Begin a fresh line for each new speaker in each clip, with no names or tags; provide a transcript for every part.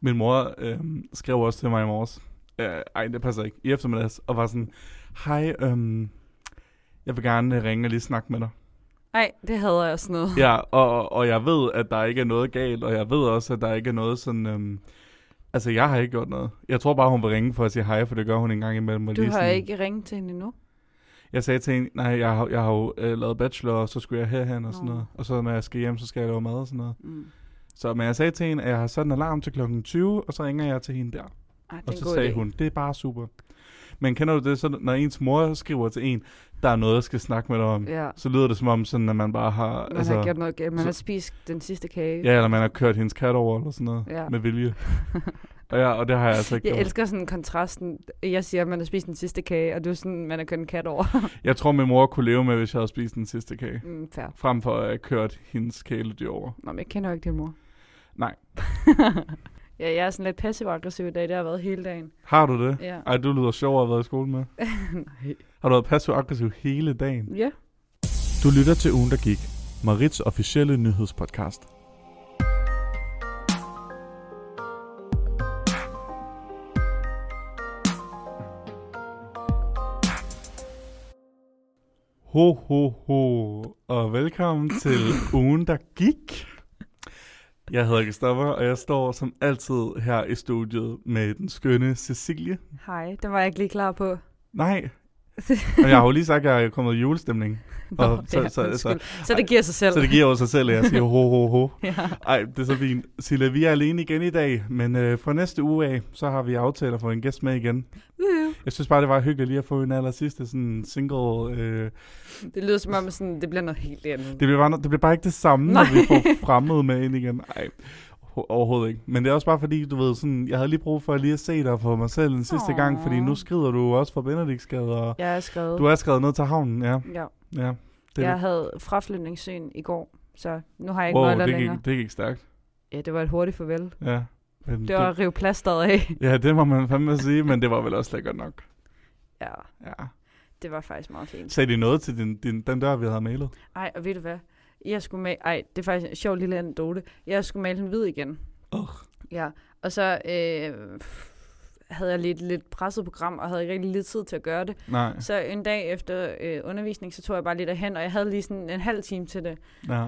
Min mor øh, skrev også til mig i morges. Øh, ej, det passer ikke. I eftermiddags. Og var sådan, hej, øh, jeg vil gerne øh, ringe og lige snakke med dig.
Nej, det havde jeg sådan noget.
Ja, og, og jeg ved, at der ikke er noget galt, og jeg ved også, at der ikke er noget sådan... Øhm, altså, jeg har ikke gjort noget. Jeg tror bare, hun vil ringe for at sige hej, for det gør hun en gang imellem. og
Du
lige
har
sådan-
ikke ringet til hende endnu.
Jeg sagde til hende, nej, jeg har, jeg har jo øh, lavet bachelor, og så skulle jeg herhen og sådan
Nå.
noget. Og så når jeg skal hjem, så skal jeg lave mad og sådan noget.
Mm.
Så, men jeg sagde til hende, at jeg har sat en alarm til klokken 20, og så ringer jeg til hende der.
Ej, det er
Og
en
så
god
sagde
idé.
hun, det er bare super. Men kender du det, så når ens mor skriver til en, der er noget, jeg skal snakke med dig om,
Ja,
så lyder det som om, sådan, at man bare har...
man har gjort noget galt. Man
altså, så-
har spist den sidste kage.
Ja, eller man har kørt hendes kat over, eller sådan noget,
Ja.
ja. med vilje. og, ja, og det har jeg altså ikke
Jeg
gjort.
elsker sådan kontrasten. Jeg siger, at man har spist den sidste kage, og du er sådan, man har kørt en kat over.
Jeg tror, min mor kunne leve med, hvis jeg havde spist den sidste kage.
Mm, fair.
Frem for at have kørt hendes kæledyr over.
Nå, men jeg kender jo ikke din mor.
Nej.
ja, jeg er sådan lidt passiv-aggressiv i dag. Det har jeg været hele dagen.
Har du det?
Ja.
Ej, du lyder sjov at have været i skole med.
Nej.
Har du været passiv-aggressiv hele dagen?
Ja.
Du lytter til ugen, der gik. Marits officielle nyhedspodcast.
Ho, ho, ho. Og velkommen til ugen, der gik. Jeg hedder Kristoffer, og jeg står som altid her i studiet med den skønne Cecilie.
Hej, den var jeg ikke lige klar på.
Nej, og jeg har jo lige sagt, at jeg er kommet i julestemning.
Nå,
Og så- så-
undskyld.
så-
så det giver sig selv.
Så det giver jo sig selv, at jeg siger ho, ho, ho.
ja.
Ej, det er så fint. Silla, vi er alene igen i dag, men øh, fra næste uge af, så har vi aftalt at få en gæst med igen.
Woohoo.
Jeg synes bare, det var hyggeligt lige at få en aller sidste sådan single... Øh,
Det lyder som om, sådan, det bliver noget helt andet.
det, bliver bare, det bliver bare ikke det samme,
Nej.
når vi får fremmede med ind igen. Ej, ho- overhovedet ikke. Men det er også bare fordi, du ved, sådan, jeg havde lige brug for lige at se dig for mig selv den sidste
Åh.
gang, fordi nu skrider du jo også fra Benediktsgade, og
Jeg er skrevet.
du er skrevet ned til havnen, ja.
Ja.
ja. Det,
Det jeg havde fraflytningssyn i går, så nu har jeg ikke wow,
wow,
nøgler
det
længere.
gik, det gik stærkt.
Ja, det var et hurtigt farvel.
Ja. Men
Det var at rive plasteret af.
Ja, det må man fandme sige, men det var vel også slet ikke godt nok.
Ja,
Ja.
det var faktisk meget fint.
Sagde de noget til din, din, den dør, vi havde malet?
Ej, og ved du hvad? Jeg skulle male... Ej, det er faktisk en sjov lille anekdote. Jeg skulle male den hvid igen.
Ugh.
Ja, og så øh, havde jeg lidt, lidt presset program, og havde ikke rigtig lidt tid til at gøre det.
Nej.
Så en dag efter øh, undervisning, så tog jeg bare lige derhen, og jeg havde lige sådan en halv time til det.
Ja.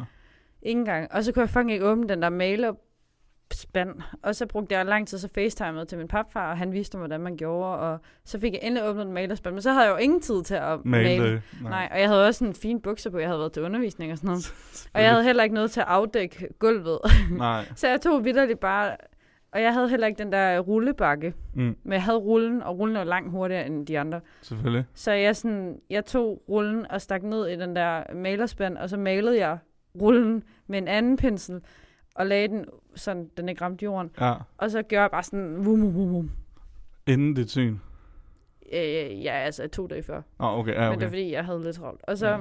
Ingen gang. Og så kunne jeg fucking ikke åbne den der maler spand. Og så brugte jeg lang tid så facetimede til min papfar, og han viste mig, hvordan man gjorde. Og så fik jeg endelig åbnet den malerspand, men så havde jeg jo ingen tid til at male.
Male.
male.
det.
Nej, og jeg havde også en fin bukser på, jeg havde været til undervisning og sådan noget. Og jeg havde heller ikke noget til at afdække gulvet.
Nej.
så jeg tog vidderligt bare... Og jeg havde heller ikke den der rullebakke,
Mm,
men jeg havde rullen, og rullen var langt hurtigere end de andre.
selvfølgelig.
Så jeg, sådan, jeg tog rullen og stak ned i den der malerspand, og så malede jeg rullen med en anden pensel, og lagde den, sådan den ikke ramte jorden.
Ja.
Og så gjorde jeg bare sådan, vum, vum, vum, vum.
Inden dit syn.
Øh, ja, altså to dage før.
Åh, oh, okay. Ja,
Okay.
okay.
Men det er fordi, jeg havde lidt travlt. Og så,
Ja.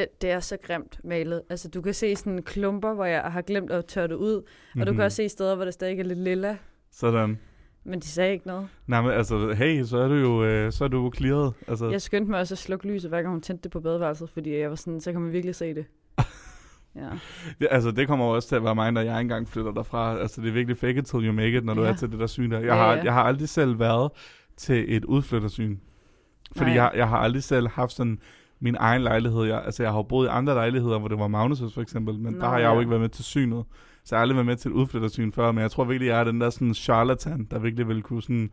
det, det er så grimt malet. Altså, du kan se sådan klumper, hvor jeg har glemt at tørre det ud. Mm-hmm. Og du
Mhm.
kan også se steder, hvor der stadig er lidt lilla.
Sådan.
Men de sagde ikke noget.
Nej, men altså, hey, så er du jo, øh, så er du jo clearet. Altså,
Jeg skyndte mig også at slukke lyset, hver gang hun tændte det på badeværelset, fordi jeg var sådan, så kan man virkelig se det. ja.
det, altså, det kommer jo også til at være mig, når jeg engang flytter derfra. Altså, det er virkelig fake it till you make it, når du
Ja.
er til det der syn der. Jeg,
Ja,
har,
ja.
jeg har aldrig selv været til et udflyttersyn. Fordi
Nej.
jeg, jeg har aldrig selv haft sådan min egen lejlighed. Jeg, altså, jeg har jo boet i andre lejligheder, hvor det var Magnus' for eksempel, men Nå,
Nå,
der har jeg
ja.
jo ikke været med til synet. Så jeg har aldrig været med til et udflyttersyn før, men jeg tror virkelig, jeg er den der sådan charlatan, der virkelig vil kunne sådan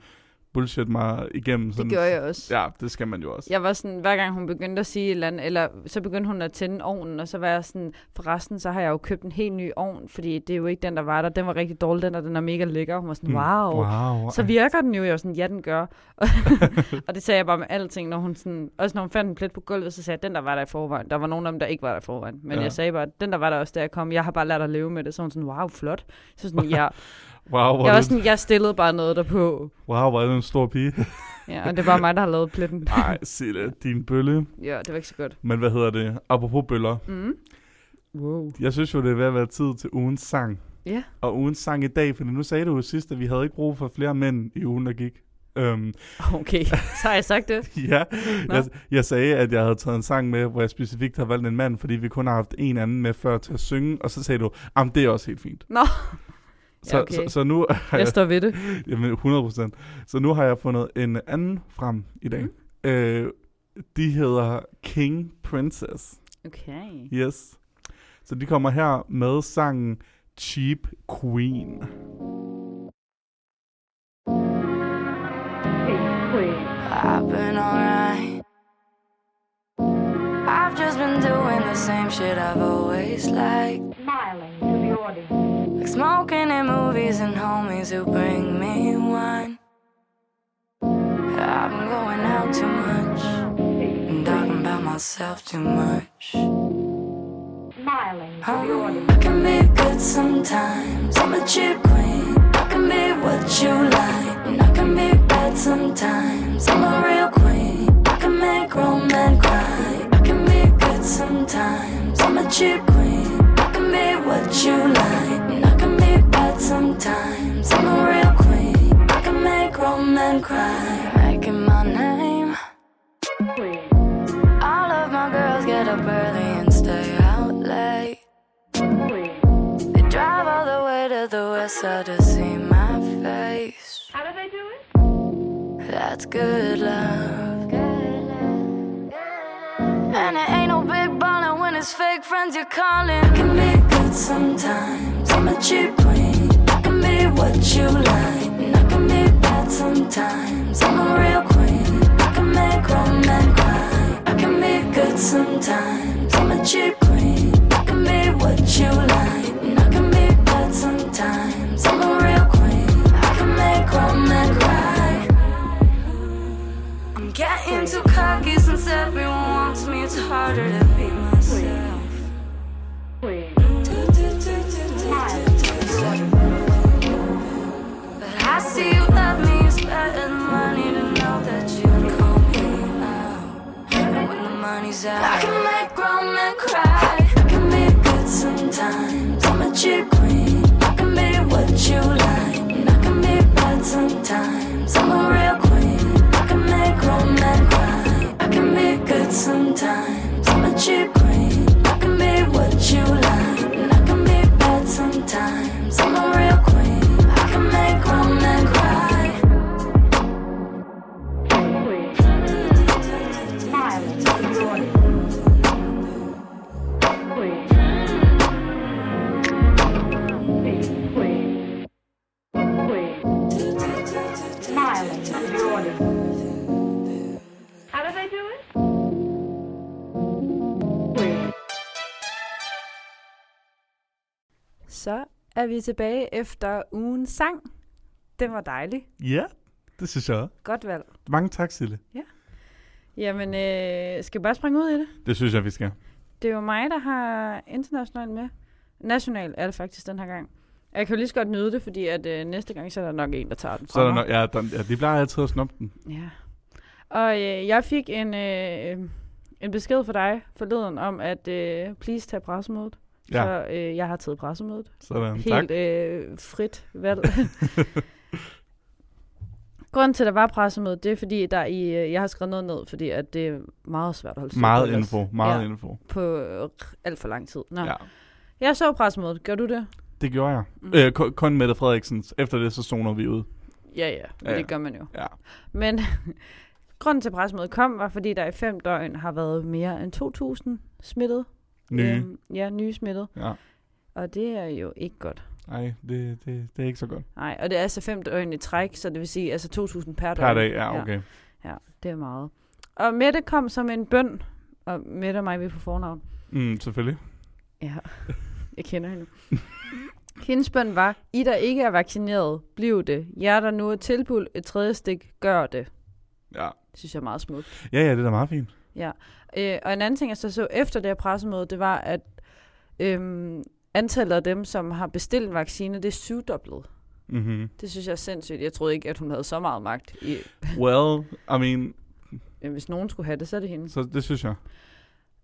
bullshit mig igennem. Sådan,
Det gjorde jeg også. Ja.
Ja, det skal man jo også.
Jeg var sådan, hver gang hun begyndte at sige et eller andet, eller så begyndte hun at tænde ovnen, og så var jeg sådan, forresten, så har jeg jo købt en helt ny ovn, fordi det er jo ikke den, der var der. Den var rigtig dårlig, den der, den er mega lækker. Hun var sådan,
Mm.
wow. wow.
wow.
Så
ej.
virker den jo, jeg var sådan, ja, den gør. og det sagde jeg bare med alting, når hun sådan, også når hun fandt en plet på gulvet, så sagde jeg, den der var der i forvejen. Der var nogen af dem, der ikke var der i forvejen. Men
Ja.
ja. jeg sagde bare, den der var der også, da jeg kom. Jeg har bare lært at leve med det. Så var hun sådan, wow, flot. Så sådan, ja.
Wow, hvor,
Jeg
er
var
du,
sådan, jeg stillede bare noget derpå.
wow, hvor er du en stor pige.
Ja, og det var mig, der har lavet pletten.
Nej, sig det. Din bølle.
ja, det var ikke så godt.
Men hvad hedder det? Apropos bøller.
Mm. Wow.
Jeg synes jo, det er ved at være tid til ugens sang.
Ja.
Og ugens sang i dag, for nu sagde du jo sidst, at vi havde ikke brug for flere mænd i ugen, der gik. Øhm,
Okay, så har jeg sagt det.
ja,
Nå.
jeg, jeg sagde, at jeg havde taget en sang med, hvor jeg specifikt har valgt en mand, fordi vi kun har haft en anden med før til at synge, og så sagde du, at det er også helt fint.
Nå,
Så,
Ja, okay.
så, så nu har
Jeg
jeg,
står ved det.
jamen 100 procent. Så nu har jeg fundet en anden frem i dag. Mm. Øh, de hedder King Princess.
Okay.
Yes. Så de kommer her med sangen Cheap Queen.
I've been alright. I've just been doing the same shit I've always liked.
smiling to the audience.
Like smoking in movies and homies who bring me wine. I've been going out too much. And talking about myself too much.
Smiling to the
Um,
audience.
I can be good sometimes. I'm a cheap queen. I can be what you like. And I can be bad sometimes. I'm a real queen. I can make grown men cry. I can be good sometimes. I'm a cheap queen. I can be what you like. And I can be bad sometimes. I'm a real queen. I can make grown men cry. Making my name. All of my girls get up early and stay out late. They drive all the way to the west side to see my face.
How do they do it?
That's good love. And it ain't no big ballin' when it's fake friends you're calling. I can be good sometimes. I'm a cheap queen. I can be what you like. And I can be bad sometimes. I'm a real queen. I can make grown men cry. I can be good sometimes. I'm a cheap queen. I can be what you like. And I can be bad sometimes. I'm a real queen. I can make grown men cry. I'm getting too cocky since everyone wants me. It's harder to be myself. But I see you love me. It's better than money to know that you call me out. And when the money's out, I can make grown men cry. I can be good sometimes. I'm a cheap queen. I can be what you like, and I can be bad sometimes. I'm a real queen. I can make grown men cry. I can be good sometimes. I'm a cheap queen. I can be what you like, and I can be bad sometimes. I'm a real queen. I can make grown men cry.
Smiling to the audience. Smiling to the audience. How do they do it?
Så er vi tilbage efter ugens sang. Den var dejlig.
Ja, det synes jeg. også.
Godt valg.
Mange tak, Sille.
Jamen, øh, skal vi bare springe ud i det?
Det synes jeg, vi skal.
Det er jo mig, der har international med. National er det faktisk den her gang. Og Jeg kan jo lige så godt nyde det, fordi at, øh, næste gang, så er der nok en, der tager den fra
Så er der
mig.
no- ja, der, ja, de plejer altid at snoppe den.
Ja. Og øh, jeg fik en, øh, øh, en besked fra dig forleden om, at øh, please tag pressemødet.
Ja.
Så øh, jeg har taget pressemødet.
Sådan, tak.
Helt øh, frit valg. Grunden til, at der var pressemødet, det er fordi, der i, øh, jeg har skrevet noget ned, fordi at det er meget svært at holde styr på
Meget
ellers.
info, meget
Ja.
ja. info.
på øh, alt for lang tid. Nå.
Ja.
Ja. Jeg så pressemødet. Gør du det?
Det gjorde jeg.
Mm.
Mm. Øh, kun- kun Mette Frederiksens. Efter det, så zoner vi ud.
Ja, ja, men
Ja,
ja.
ja.
det gør man jo.
Ja.
Men grunden til, at pressemødet kom, var fordi der i fem døgn har været mere end 2.000 smittet.
Nye.
Øhm, ja, nye smittet.
Ja.
Og det er jo ikke godt.
Ej, det, det, det er ikke så godt.
Nej, og det er altså fem døgn i træk, så det vil sige altså 2.000 per døgn.
Per dag, ja, okay.
Det er meget. Og Mette kom som en bøn. Og Mette og mig, vi er på fornavn.
Mm, selvfølgelig.
Ja, jeg kender hende. Hendes bøn var, I der ikke er vaccineret, bliv det. Jer der nu er tilbudt et tredje stik, gør det.
Ja.
Det synes jeg er meget smukt.
ja, ja, det er da meget fint.
Øh, og en anden ting, jeg så så efter det her pressemøde, det var, at øhm, antallet af dem, som har bestilt en vaccine, det er syvdoblet.
Mm-hmm.
Det synes jeg er sindssygt. Jeg troede ikke, at hun havde så meget magt. I,
Well, I mean,
øh, hvis nogen skulle have det, så er det hende.
så det synes jeg,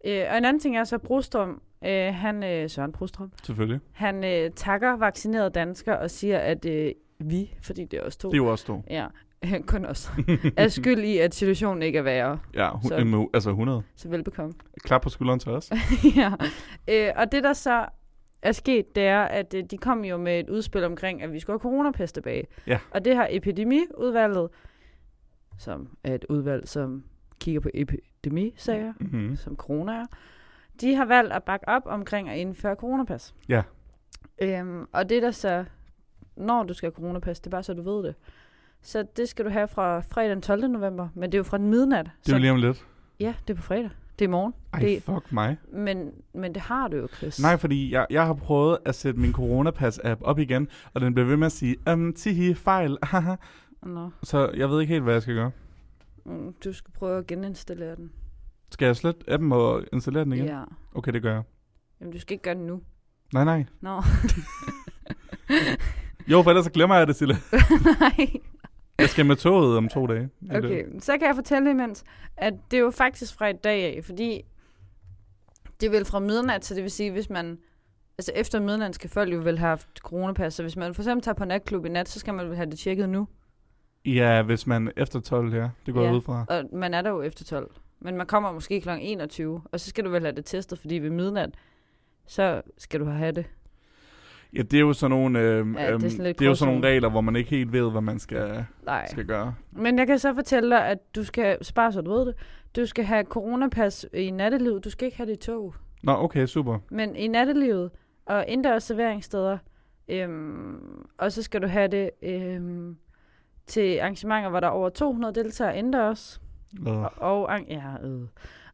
Øh, og en anden ting er så, at Brostrøm, øh, han, øh, Søren Brostrøm,
selvfølgelig.
han øh, takker vaccinerede danskere og siger, at øh, vi, fordi det er os to,
Det er jo også to.
Ja, kun os. er skyld i, at situationen ikke er værre.
Ja, hu-
Så-
em- altså 100.
Så velbekomme.
Klap på skulderen til os.
ja. Øh, og det der så er sket, det er, at øh, de kom jo med et udspil omkring, at vi skulle have coronapest tilbage.
Ja.
Og det har epidemiudvalget, som er et udvalg, som kigger på epidemisager,
Mm-hmm.
som corona er, de har valgt at bakke op omkring at indføre coronapas.
Ja.
Øhm, og det der så, når du skal have coronapas, det er bare så, du ved det. Så det skal du have fra fredag den 12. november, men det er jo fra den midnat.
Det er jo
så,
lige om lidt.
ja, det er på fredag. Det er i morgen.
Ej,
Det-
fuck mig.
Men, men det har du jo, Chris.
Nej, fordi jeg, jeg har prøvet at sætte min coronapas-app op igen, og den bliver ved med at sige, um, tihi, fejl, haha."
Nå.
Så jeg ved ikke helt, hvad jeg skal gøre.
Mm, Du skal prøve at geninstallere den.
Skal jeg slet appen og installere den igen?
Ja.
Okay, det gør jeg.
Jamen, du skal ikke gøre det nu.
Nej, nej.
Nå.
Jo, for ellers så glemmer jeg det, Sille.
Nej.
Jeg skal med toget om to dage. Er det-
Okay, så kan jeg fortælle imens, at det er jo faktisk fra i dag af, fordi det er vel fra midnat, så det vil sige, hvis man... Altså efter midnat skal folk jo vel have haft coronapas, så hvis man for eksempel tager på natklub i nat, så skal man vel have det tjekket nu.
Ja, hvis man efter 12 her. Det går
Ja.
jeg ud fra.
Og man er der jo efter 12. Men man kommer måske kl. 21, og så skal du vel have det testet, fordi ved midnat, så skal du have det.
Ja, det er jo sådan nogle, øhm,
Ja, det er
øhm,
sådan lidt
det er jo sådan
gråzone.
nogle regler, hvor man ikke helt ved, hvad man skal,
Nej.
skal gøre.
Men jeg kan så fortælle dig, at du skal, spare så du ved det, du skal have coronapas i nattelivet, du skal ikke have det i tog.
Nå, okay, super.
Men i nattelivet og indendørs serveringssteder, øhm, og så skal du have det øhm, til arrangementer, hvor der er over 200 deltagere indendørs,
Uh,
og, og, arran- ja, øh,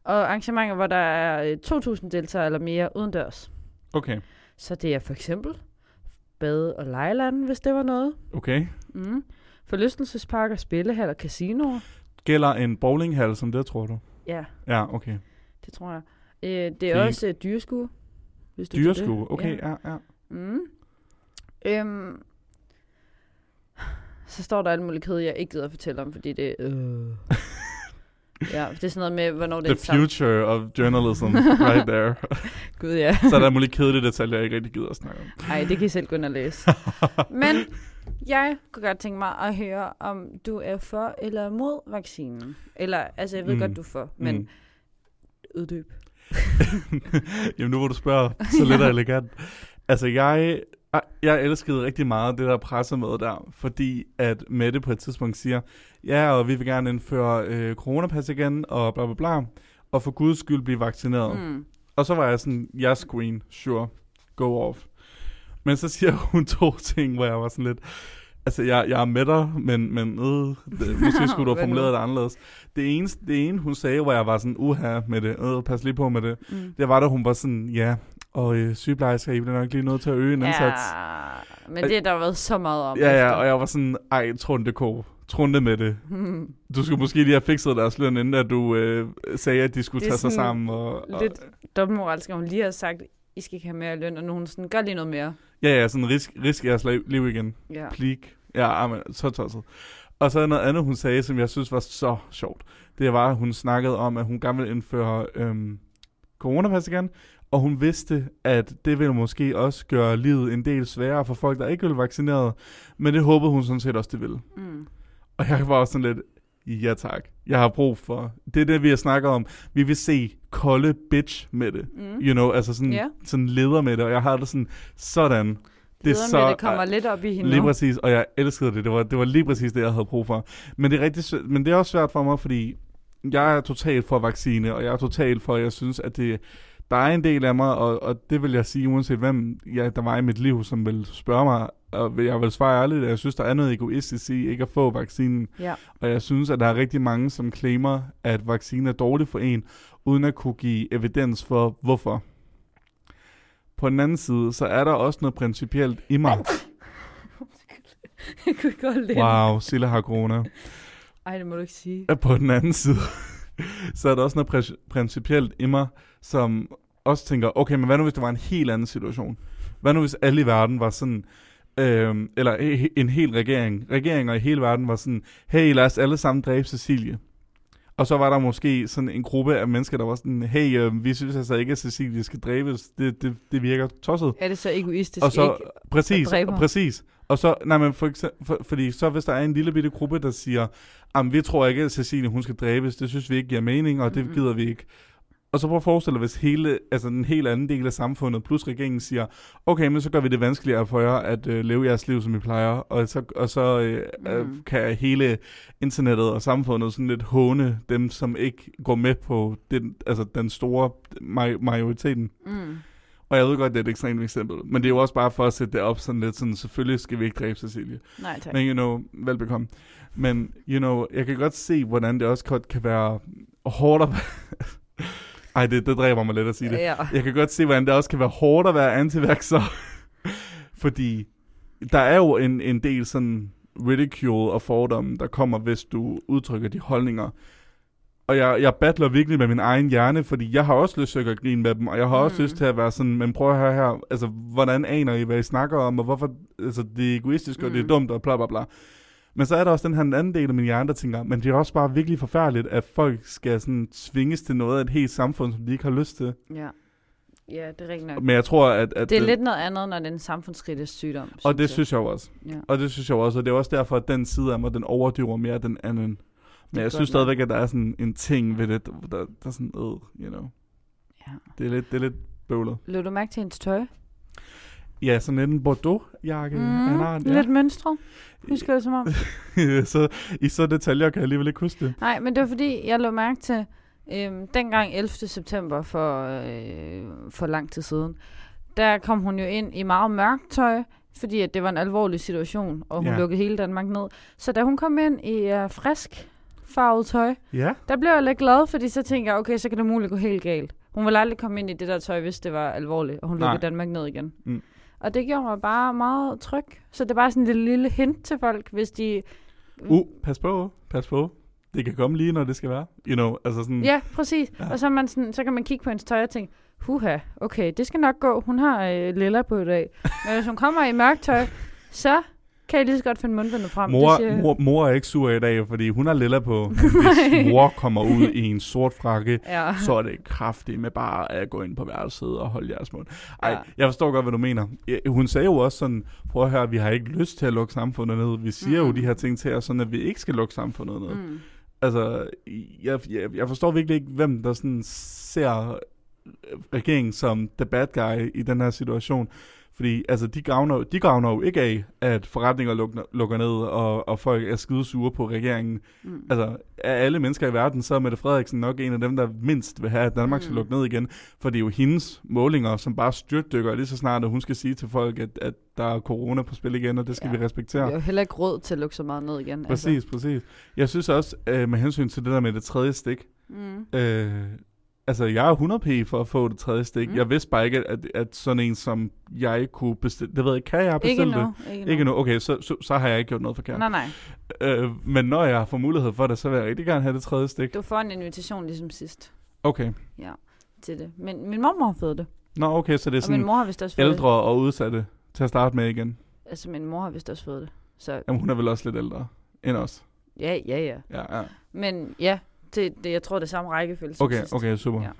og arrangementer, hvor der er øh, 2.000 deltagere eller mere udendørs.
okay,
Så det er for eksempel bade- og lejelande, hvis det var noget.
okay.
Mm. Forlystelsesparker, spillehaller, casinoer.
Gælder en bowlinghal som det, tror du?
Ja,
Ja, okay.
det tror jeg. Øh, det er
Fint.
også øh, dyreskue. Hvis du til det.
Dyreskue, okay, ja, ja.
Mm. Øhm. Så står der alt muligt kede, jeg ikke gider at fortælle om, fordi det... Øh. ja, det er sådan noget med, hvornår det
The
er sammen.
future of journalism, right there.
Gud, ja.
Så er der mulige kedelige detaljer, jeg ikke rigtig gider at snakke om.
Nej, det kan I selv gå ind og læse. Men jeg kunne godt tænke mig at høre, om du er for eller mod vaccinen. Eller, altså, jeg ved mm.
Mm.
godt, du er for, men
Mm.
mm. uddyb.
Jamen nu hvor du spørger, så lidt og elegant. Altså jeg, jeg elskede rigtig meget det der pressemøde der, fordi at Mette på et tidspunkt siger, ja, og vi vil gerne indføre øh, coronapas igen, og bla bla bla, og for guds skyld blive vaccineret. Mm.
Mm.
Og så var jeg sådan, jeg yes, queen, sure, go off. Men så siger hun to ting, hvor jeg var sådan lidt, altså jeg, jeg er med dig, men, men øh, det, måske skulle du have
Hvad nu?
formuleret det anderledes. Det ene, det ene, hun sagde, hvor jeg var sådan, uha med det, øh, pas lige på med det.
Mm.
Det var da hun var sådan, ja, og øh, sygeplejersker, I bliver nok lige nødt til at øge en indsats.
Ja, men det er der jo været så meget om.
Ja, ja, og jeg var sådan, ej, Trunde K, Trunde med det.
jeg...
Du skulle måske lige have fikset deres løn, inden at du øh, sagde, at de skulle
Det er
tage sig
sådan
sammen. Og, og,
lidt dobbeltmoralsk, at hun lige har sagt, I skal ikke have mere i løn, og nu er hun sådan, gør lige noget mere.
Ja, ja, sådan risk, risk jeres liv liv igen.
Ja.
Plik. Ja, ah, men, så tosset. Og så er noget andet, hun sagde, som jeg synes var så sjovt. Det var, at hun snakkede om, at hun gerne ville indføre øhm, coronapas igen, og hun vidste, at det ville måske også gøre livet en del sværere for folk, der ikke ville vaccineret, men det håbede hun sådan set også, det ville.
Mm.
Og jeg var også sådan lidt, ja tak, jeg har brug for, det er det, vi har snakket om, vi vil se kolde bitch med det.
Mm.
You know, altså sådan,
Ja.
sådan leder med det, og jeg har det sådan, sådan, det er så...
det kommer lidt op i hende
Lige
nu.
præcis, og jeg elskede det. Det var, det var lige præcis det, jeg havde brug for. Men det, er rigtig, svæ- men det er også svært for mig, fordi jeg er totalt for vaccine, og jeg er totalt for, at jeg synes, at det, der er en del af mig, og, og det vil jeg sige, uanset hvem jeg, der var i mit liv, som vil spørge mig, og vil- jeg vil svare ærligt, at jeg synes, der er noget egoistisk i ikke at få vaccinen.
Ja.
Og jeg synes, at der er rigtig mange, som claimer, at vaccinen er dårlig for en, uden at kunne give evidens for, hvorfor. På den anden side, så er der også noget principielt i mig.
Jeg kunne godt lide wow.
Wow, Silla har corona.
Ej, det må du ikke sige.
På den anden side, så er der også noget pr- principielt i mig, som også tænker, okay, men hvad nu hvis det var en helt anden situation? Hvad nu hvis alle i verden var sådan, øhm, eller he- he- en hel regering, regeringer i hele verden var sådan, hey, lad os alle sammen dræbe Cecilie. Og så var der måske sådan en gruppe af mennesker, der var sådan, hey, øh, vi synes altså ikke, at Cecilie skal dræbes. Det, det, det virker tosset.
Er det Øhm. så egoistisk
og så,
ikke?
præcis,
at dræbe ham.
præcis. Og så, nej, men for eksempel, for, fordi så hvis der er en lille bitte gruppe, der siger, jamen vi tror ikke, at Cecilie hun skal dræbes, det synes vi ikke giver mening, og det
Mhm.
gider vi ikke. Og så prøv at forestille dig, hvis hele, altså den helt anden del af samfundet, plus regeringen siger, okay, men så gør vi det vanskeligere for jer at øh, leve jeres liv, som I plejer, og så, og så øh, mm. kan hele internettet og samfundet sådan lidt håne dem, som ikke går med på den, altså den store maj- majoriteten.
Mm.
Og jeg ved godt, det er et ekstremt eksempel, men det er jo også bare for at sætte det op sådan lidt sådan, selvfølgelig skal vi ikke dræbe Cecilie.
Nej, tak.
Men you know, velbekomme. Men you know, jeg kan godt se, hvordan det også godt kan være hårdt at Ej, det, det dræber mig lidt at sige det.
Ja.
Jeg kan godt se, hvordan det også kan være hårdt at være antiværksår. Fordi der er jo en, en del sådan ridicule og fordomme, der kommer, hvis du udtrykker de holdninger. Og jeg, jeg battler virkelig med min egen hjerne, fordi jeg har også lyst til at gøre grin med dem, og jeg har også
Mm.
lyst til at være sådan, men prøv at høre her, altså, hvordan aner I, hvad I snakker om, og hvorfor, altså, det er egoistisk, og det er
Mm.
dumt, og bla bla bla. Men så er der også den her anden del af min hjerne, der tænker, men det er også bare virkelig forfærdeligt, at folk skal sådan tvinges til noget af et helt samfund, som de ikke har lyst til.
Ja. ja, det er rigtigt nok.
Men jeg tror, at... at
Det er lidt noget andet, når det er en samfundskritisk sygdom.
Og det
jeg.
synes jeg jo også.
Ja.
Og det synes jeg jo også, og det er også derfor, at den side af mig, den overdøver mere den anden. Men jeg
godt
synes
nok.
stadigvæk, at der er sådan en ting ved det, der, der, der er sådan, øh, you know.
Ja.
Det er lidt, det er lidt bøvlet.
Lød du mærke til hendes tøj?
Ja, sådan lidt en Bordeaux-jakke. af en art,
Mm, Lidt mønstret. Husker jeg det som om?
ja. så, I så detaljer kan jeg alligevel ikke huske det.
Nej, men det var fordi, jeg lå mærke til, øhm, dengang 11. september for, øh, for lang tid siden, der kom hun jo ind i meget mørkt tøj, fordi at det var en alvorlig situation, og hun
Ja.
ja. lukkede hele Danmark ned. Så da hun kom ind i øh, frisk farvet tøj,
Ja.
der blev jeg lidt glad, fordi så tænkte jeg, okay, så kan det muligt gå helt galt. Hun ville aldrig komme ind i det der tøj, hvis det var alvorligt, og hun
Nej.
lukkede Danmark ned igen.
Mm.
Og det gjorde mig bare meget tryg. Så det er bare sådan en lille, lille hint til folk, hvis de...
Uh, pas på, pas på. Det kan komme lige, når det skal være. You know, altså sådan...
Ja, præcis.
Ja.
Ja. Og så, er man sådan, så kan man kigge på hendes tøj og tænke, huha, okay, det skal nok gå. Hun har øh, lilla på i dag. Men hvis hun kommer i mørkt tøj, så kan jeg lige så godt finde mundbindet frem. det
Mor,
siger-
mor, mor er ikke sur i dag, fordi hun har lilla på. Men Hvis mor kommer ud i en sort frakke,
Ja.
så er det kraftigt med bare at gå ind på værelset og holde jeres mund. Ej, ja.
Ja.
jeg forstår godt, hvad du mener. Ja, Hun sagde jo også sådan, prøv at høre, vi har ikke lyst til at lukke samfundet ned. Vi siger mm. jo
Mm.
de her ting til jer, sådan at vi ikke skal lukke samfundet ned. Mm.
Mm.
Altså, jeg, jeg, jeg forstår virkelig ikke, hvem der sådan ser øh, regeringen som the bad guy i den her situation. Fordi altså, de, gavner, de gavner jo ikke af, at forretninger lukker, lukker ned, og, og folk er skidesure på regeringen. Mm. Altså, af alle mennesker i verden, så er Mette Frederiksen nok en af dem, der mindst vil have, at Danmark skal
Mm.
lukke ned igen. For det er jo hendes målinger, som bare styrtdykker lige så snart, at hun skal sige til folk, at, at der er corona på spil igen, og det skal ja.
Ja.
vi respektere.
Jeg har jo heller ikke råd til at lukke så meget ned igen.
Præcis, altså. præcis. Jeg synes også, øh, med hensyn til det der med det tredje stik,
Mm.
øh, altså jeg er 100p for at få det tredje stik. Mm.
Mm.
Jeg vidste bare ikke, at, at sådan en som jeg kunne bestille, det ved jeg, ikke, kan jeg
Ikke
bestille det?
nu. Ikke,
Ikke
nu.
nu. Okay, så, så, så har jeg ikke gjort noget forkert.
Nej, nej.
Øh, men når jeg får mulighed for det, så vil jeg rigtig gerne have det tredje stik.
Du får en invitation ligesom sidst
Okay.
til det. Men min mor har fået det.
Nå, okay, så det er
Og min
sådan
mor har vist også fået
ældre og udsatte til at starte med igen.
det. Altså, min mor har vist også fået det. Så
Jamen, hun er vel også lidt ældre end os.
ja, ja, ja.
Ja, ja.
Men ja, det, det, jeg tror, det er samme rækkefølge som
Okay,
sidst.
okay, super.
Ja.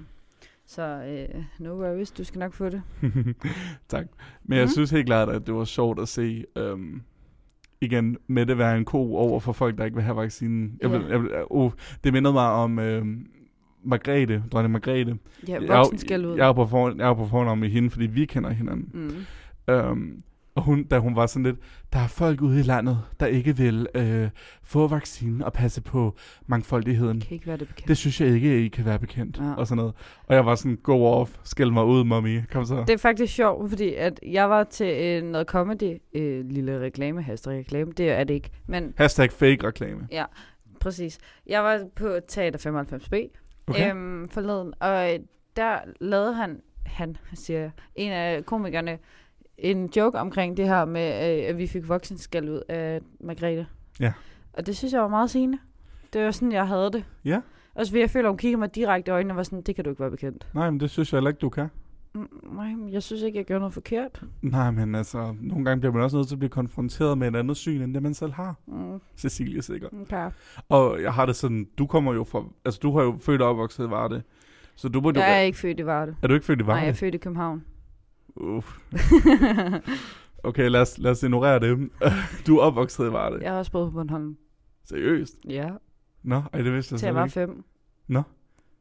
Så øh, no worries, du skal nok få det.
tak. Men jeg mm.
Mhm.
synes helt klart, at det var sjovt at se, øhm, igen, med det være en ko over for folk, der ikke vil have vaccinen. Jeg,
Ja.
yeah. jeg, jeg, uh, det mindede mig om øhm, Margrethe, dronning Margrethe.
Ja,
jeg,
voksen skal ud.
jeg, er på for, jeg er på fornavn med hende, fordi vi kender hinanden.
Mm.
Øhm, og hun, da hun var sådan lidt, der er folk ude i landet, der ikke vil øh, få vaccinen og passe på mangfoldigheden.
Kan ikke være det bekendt.
Det synes jeg ikke, I kan være bekendt.
Ja.
Og sådan noget. Og jeg var sådan, go off, skæld mig ud, mommy. Kom så.
Det er faktisk sjovt, fordi at jeg var til øh, noget comedy, øh, lille reklame, hashtag reklame, det er det ikke, men
Hashtag fake reklame.
præcis. Jeg var på Teater 95B,
Okay.
øhm, forleden, og øh, der lavede han, han siger jeg, en af komikerne, en joke omkring det her med, øh, at vi fik voksenskæld ud af Margrethe.
Ja.
Og det synes jeg var meget sigende. Det var sådan, jeg havde det.
Ja.
Også fordi jeg føler, hun kigger mig direkte i øjnene og var sådan, det kan du ikke være bekendt.
Nej, men det synes jeg heller ikke, du kan.
Mm, nej, men jeg synes ikke, jeg gjorde noget forkert.
Nej, men altså, nogle gange bliver man også nødt til at blive konfronteret med et andet syn, end det man selv har.
Mm,
Cecilie sikkert.
okay.
Og jeg har det sådan, du kommer jo fra, altså du har jo født og opvokset i Varde. Så du må du,
Jeg er ikke født i Varde.
er du ikke født i
Nej, jeg
Varde?
er født i København.
Uff. Okay, lad os, lad os ignorere det. du er opvokset i Varde. Ja.
jeg har også boet på Bornholm.
Seriøst?
Ja,
Nå, ej, det vidste jeg
til jeg var
slet ikke.
fem.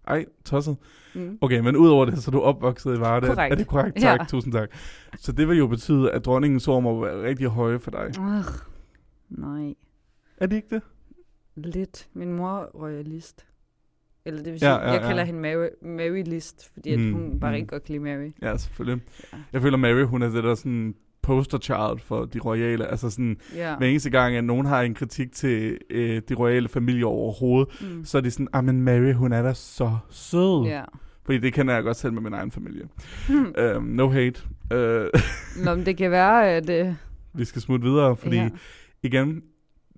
Ej, tosset.
Mm.
Okay, men udover det, så er du opvokset i Varde.
Korrekt.
Er det korrekt? Tak,
Ja.
ja. tusind tak. Så det vil jo betyde, at dronningens ord må være rigtig høje for dig.
Ugh, nej,
Er det ikke det?
lidt. Min mor er royalist. Eller det vil sige,
Ja,
ja, ja,
ja,
jeg
ja.
kalder hende Mary, Mary-list, fordi at
Mm,
hun bare
mm.
ikke godt kan lide Mary.
Ja, selvfølgelig.
Ja.
Jeg føler, Mary, hun er det der sådan poster child for de royale. Altså sådan,
Ja.
hver eneste gang, at nogen har en kritik til øh, de royale familier overhovedet,
Mm.
så er de sådan, ah, men Mary, hun er da så sød.
Ja.
Fordi det kender jeg godt selv med min egen familie.
Hmm.
Um, no hate. Uh,
Nå, men det kan være, at... Øh,
vi skal smutte videre, fordi
ja.
ja. igen,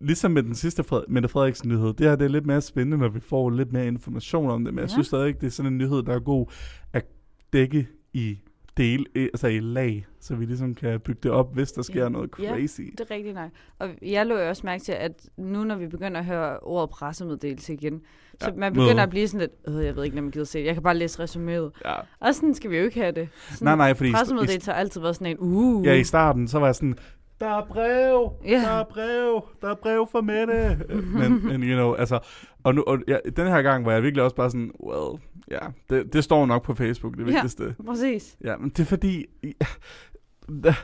ligesom med den sidste Fred- Mette Frederiksen nyhed, det her det er lidt mere spændende, når vi får lidt mere information om det, men ja. jeg
Ja.
synes stadig ikke, det er sådan en nyhed, der er god at dække i del, i- altså i lag, så vi ligesom kan bygge det op, hvis der sker
Ja.
noget
Ja.
crazy.
Det er rigtigt nej. Og jeg lå jo også mærke til, at nu når vi begynder at høre ordet pressemeddelelse igen, ja, så
Ja,
man begynder
møde.
at blive sådan lidt, øh, jeg ved ikke, om jeg gider se det. Jeg kan bare læse resuméet.
Ja.
Og sådan skal vi jo ikke have det. Sådan,
Nej, nej, fordi i, i,
Pressemeddelelse har altid været sådan en, uh.
ja, i starten, så var jeg sådan, der er brev,
Ja.
der er brev, der er brev for Mette. Øh, men, men, you know, altså, og, nu, og ja, den her gang var jeg virkelig også bare sådan, well, ja, det, det står nok på Facebook, det
Ja.
vigtigste. Ja.
Præcis.
Ja, men det er fordi... Ja,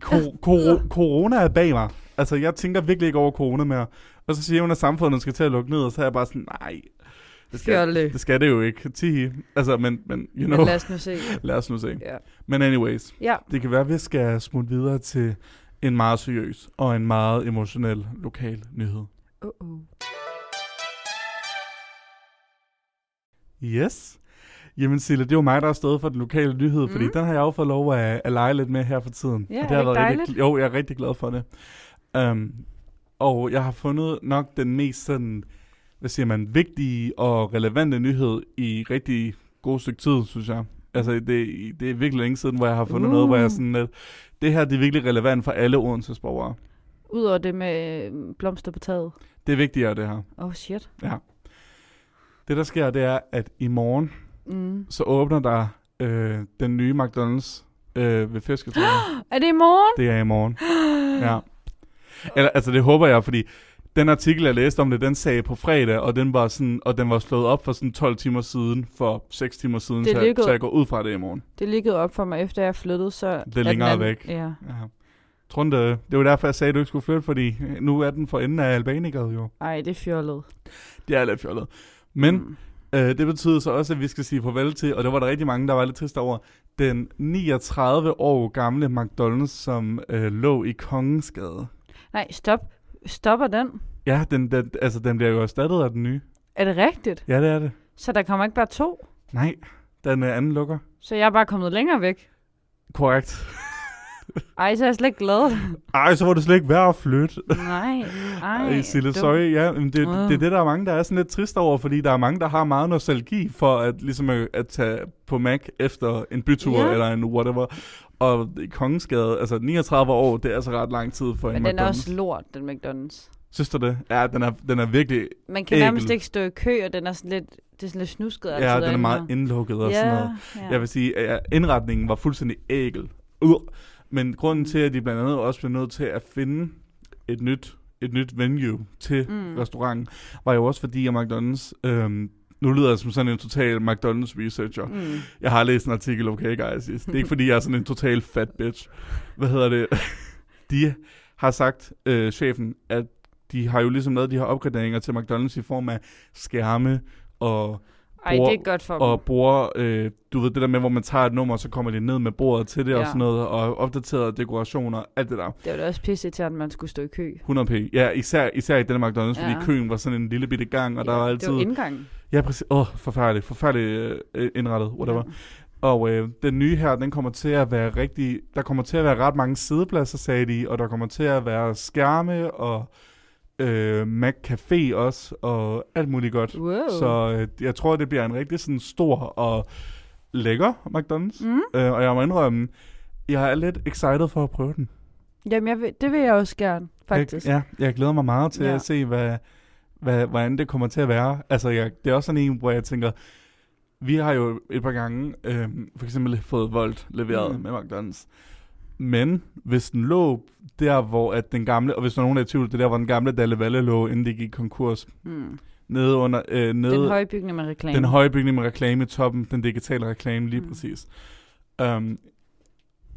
ko- ko- corona er bag mig. Altså, jeg tænker virkelig ikke over corona mere. Og så siger hun, at samfundet skal til at lukke ned, og så er jeg bare sådan, nej, det skal,
Fjolle.
det, skal det jo ikke. Tihi. Altså, men, men you know,
Men lad
lad os,
os nu se.
lad os nu se.
Ja.
Men anyways,
ja.
det kan være, at vi skal smutte videre til en meget seriøs og en meget emotionel lokal nyhed.
Uh-uh.
Yes. Jamen Sille, det er jo mig, der er stået for den lokale nyhed, fordi
Mm.
den har jeg jo fået lov at, at lege lidt med her for tiden.
Ja,
Og
er
har
det ikke
rigtig, Jo, jeg er rigtig glad for det. Um, og jeg har fundet nok den mest sådan, hvad siger man, vigtige og relevante nyhed i rigtig god stykke tid, synes jeg. Altså, det, det er virkelig længe siden, hvor jeg har fundet
Uh.
noget, hvor jeg er sådan lidt, det her det er virkelig relevant for alle Odenses borgere.
Udover det med øh, blomster på taget.
Det er vigtigere, det her.
Åh, oh, shit.
Det, der sker, det er, at i morgen,
Mm.
så åbner der øh, den nye McDonald's øh, ved Fisketorvet.
Er det i morgen?
det er i morgen. Ja. Eller, altså det håber jeg, fordi den artikel, jeg læste om det, den sagde på fredag, og den var, sådan, og den var slået op for sådan 12 timer siden, for 6 timer siden,
Det
så,
er
jeg,
lykkedes.
så jeg går ud fra at det er i morgen.
Det liggede op for mig, efter jeg flyttede, så...
Det er
at
længere
den-
væk.
Ja.
Ja. Tror du, det, det var derfor, jeg sagde, at du ikke skulle flytte, fordi nu er den for enden af Albanikeret jo.
Ej, det er fjollet.
Det er lidt fjollet. Men
Mm.
Øh, det betyder så også, at vi skal sige farvel til, og det var der rigtig mange, der var lidt trist over, den 39 år gamle McDonald's, som øh, lå i Kongensgade.
Nej, stop. Stopper den?
Ja, den, den, altså, den bliver jo erstattet af den nye.
Er det rigtigt?
Ja, det er det.
Så der kommer ikke bare to?
Nej, den øh, anden lukker.
Så jeg er bare kommet længere væk?
Korrekt.
Ej, så er jeg slet ikke glad.
Ej, så var det slet ikke værd at flytte.
Nej, ej.
Ej, Sille,
dum.
sorry. Ja, men det, det,
Ah.
det er det, der er mange, der er sådan lidt trist over, fordi der er mange, der har meget nostalgi for at, ligesom at, at tage på Mac efter en bytur
Ja.
ja. eller en whatever. Og Kongensgade, altså 39 år, det er altså ret lang tid for en
Men den er
McDonald's.
også lort, den McDonald's.
Synes du det? Ja, den er, den er virkelig...
Man kan
Ægel.
nærmest ikke stå i kø, og den er sådan lidt, det er sådan lidt snusket. altså,
Ja, den er meget indlukket og
ja,
ja, sådan noget.
Ja.
Jeg vil sige, at indretningen var fuldstændig ægel. Uh. Men grunden til, at de blandt andet også blev nødt til at finde et nyt, et nyt venue til
Mm.
mm. restauranten, var jo også fordi, at McDonald's... Øhm, nu lyder jeg som sådan en total McDonald's researcher.
Mm.
Jeg har læst en artikel, okay guys. Det er ikke fordi, jeg er sådan en total fat bitch. Hvad hedder det? De har sagt, øh, chefen, at de har jo ligesom lavet de her opgraderinger til McDonald's i form af skærme og,
Ej,
Bor-
det er godt for
og
dem.
bruger, øh, du ved det der med, hvor man tager et nummer, og så kommer de ned med bordet til det ja.
Ja.
og sådan noget, og opdaterede dekorationer, alt det der.
Det var da også pisse til, at man skulle stå i kø.
100p. Ja, især, især i den McDonald's, ja.
Ja.
fordi køen var sådan en lille bitte gang, og ja, der var altid...
Det var indgangen.
Ja, præcis. Åh, oh, forfærdeligt. Forfærdeligt øh, indrettet, whatever.
Ja.
Og øh, den nye her, den kommer til at være rigtig... Der kommer til at være ret mange sidepladser, sagde de, og der kommer til at være skærme og øh, Mac Café også, og alt muligt godt.
Wow.
Så øh, jeg tror, det bliver en rigtig sådan stor og lækker McDonald's.
Mm.
Øh, og jeg må indrømme, jeg er lidt excited for at prøve den.
Jamen, jeg vil, det vil jeg også gerne, faktisk.
Jeg, ja, jeg glæder mig meget til
Ja.
ja. at se, hvad, hvad, hvordan det kommer til at være. Altså, jeg, det er også sådan en, hvor jeg tænker, vi har jo et par gange øh, for øhm, eksempel fået Volt leveret
Mm.
mm. med McDonald's. Men hvis den lå der, hvor at den gamle, og hvis der er nogen, der er i tvivl, det er der, hvor den gamle Dalle Valle lå, inden det gik konkurs,
Mm.
nede under, øh, nede,
Den høje bygning med reklame.
den høje bygning med reklame i toppen, den digitale reklame lige
Mm.
mm. præcis. Um,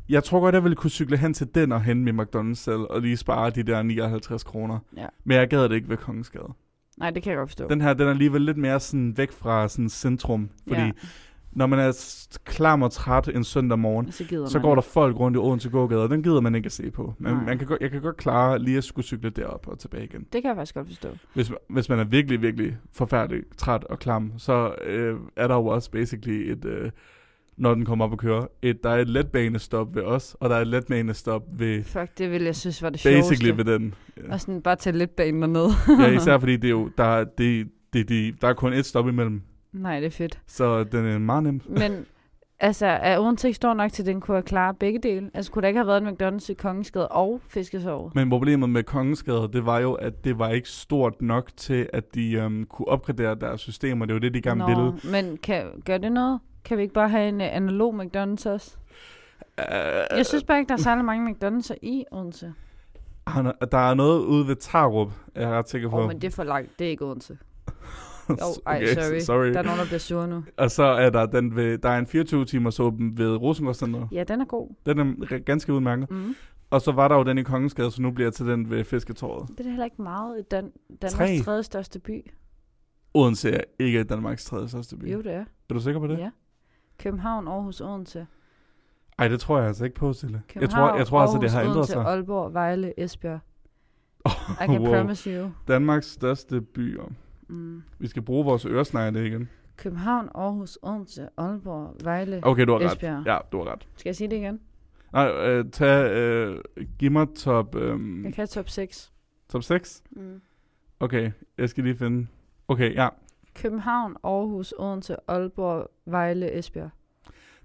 jeg tror godt, jeg ville kunne cykle hen til den og hen med McDonald's selv, og lige spare de der 59 kroner.
Ja.
Men jeg gad det ikke ved Kongensgade.
Nej, det kan jeg godt forstå.
Den her, den er alligevel lidt mere sådan væk fra sådan centrum, fordi
ja,
ja. når man er s- klam og træt en søndag morgen,
så, gider
så
man.
går der folk rundt i Odense gågade, og den gider man ikke at se på. Man,
Nej.
man kan, godt- jeg kan godt klare lige at skulle cykle derop og tilbage igen.
Det kan jeg faktisk godt forstå.
Hvis, hvis man er virkelig, virkelig forfærdelig træt og klam, så øh, er der jo også basically et, øh, når den kommer op og kører, et, der er et letbanestop ved os, og der er et letbanestop ved,
Fuck, det ville jeg synes var det
basically
sjoveste.
ved den. Ja.
Og sådan bare tage lidt banen dernede.
ja, især fordi det er jo, der, er- det, det, det, der er kun et stop imellem,
Nej, det er fedt.
så den er meget nem.
Men altså, er Odense ikke stor nok til, at den kunne have klaret begge dele? Altså, kunne der ikke have været en McDonald's i Kongensgade og Fiskesovet?
Men problemet med Kongensgade, det var jo, at det var ikke stort nok til, at de øhm, kunne opgradere deres systemer. Det var det, de gerne ville.
men kan, gør det noget? Kan vi ikke bare have en øh, analog McDonald's også?
Uh,
Jeg synes bare ikke, der er særlig mange McDonald's'er i Odense.
Der Øh, er noget ude ved Tarup, er jeg ret sikker
Åh,
på.
oh, men det er for langt. Det er ikke Odense. Jo, ej, sorry.
sorry.
Der er nogen, der bliver sure nu.
Og så er der, den ved, der er en 24-timers åben ved Rosengårdscenteret.
Ja, den er god.
Den er re- ganske udmærket.
Mm.
Og så var der jo den i Kongensgade, så nu bliver jeg til den ved Fisketåret.
Det er da heller ikke meget i Dan- Danmarks
Tre.
tredje største by.
Odense er ikke Danmarks tredje største by.
Jo, det er.
Er du sikker på det?
Ja. København, Aarhus, Odense.
Ej, det tror jeg altså ikke på, Sille. Jeg
København,
tror, jeg tror altså, det har
Aarhus,
ændret
Odense,
sig.
Aalborg, Vejle, Esbjerg. I can
Wow.
promise you.
Danmarks største byer.
Mm.
Vi skal bruge vores øresnegle igen.
København, Aarhus, Odense, Aalborg, Vejle,
Okay, du har ret.
Esbjerg.
Ja, du har ret.
Skal jeg sige det igen?
Nej, øh, tag, øh, giv mig top, øh,
Jeg kan top 6.
top 6.
Mm.
Okay, jeg skal lige finde. Okay, ja.
København, Aarhus, Odense, Aalborg, Vejle, Esbjerg.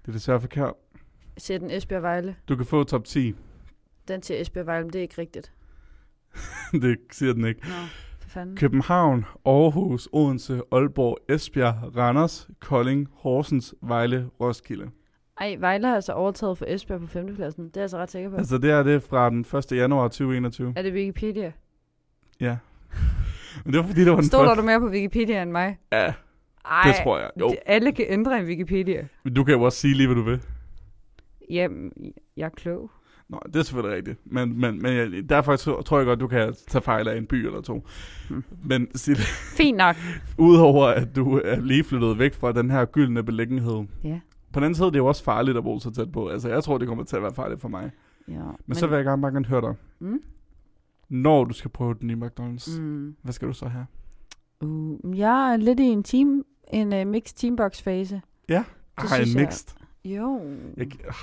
Det er desværre forkert.
Ser den Esbjerg, Vejle?
Du kan få top 10.
Den til Esbjerg, Vejle, men det er ikke rigtigt.
det siger den ikke.
Nå, for fanden.
København, Aarhus, Odense, Aalborg, Esbjerg, Randers, Kolding, Horsens, Vejle, Roskilde.
Ej, Vejle har altså overtaget for Esbjerg på 5. pladsen. Det er jeg altså ret sikker på.
Altså, det er det fra den 1. januar 2021.
Er det Wikipedia?
Ja. Men det var fordi, det var den
Stoler
første.
du mere på Wikipedia end mig?
Ja,
Ej,
det tror jeg. Jo.
d- alle kan ændre en Wikipedia.
Men du kan jo også sige lige, hvad du vil.
Jamen, jeg er klog.
Nå, det er selvfølgelig rigtigt. Men, men, men jeg, derfor tr- tror jeg godt, du kan tage fejl af en by eller to.
Hmm.
Men Sil,
Fint nok.
udover at du er lige flyttet væk fra den her gyldne beliggenhed,
Ja.
på den anden side, det er jo også farligt at bo så tæt på. Altså, jeg tror, det kommer til at være farligt for mig. Men,
Ja, men,
så vil jeg gerne bare gerne høre dig.
Mm?
Når du skal prøve den nye McDonald's, mm.
Mm.
hvad skal du så have?
Uh, jeg er lidt i en team, en uh, mixed teambox fase. Det
Ej,
synes
en
jeg-
mixed.
Jo.
Jeg, ah,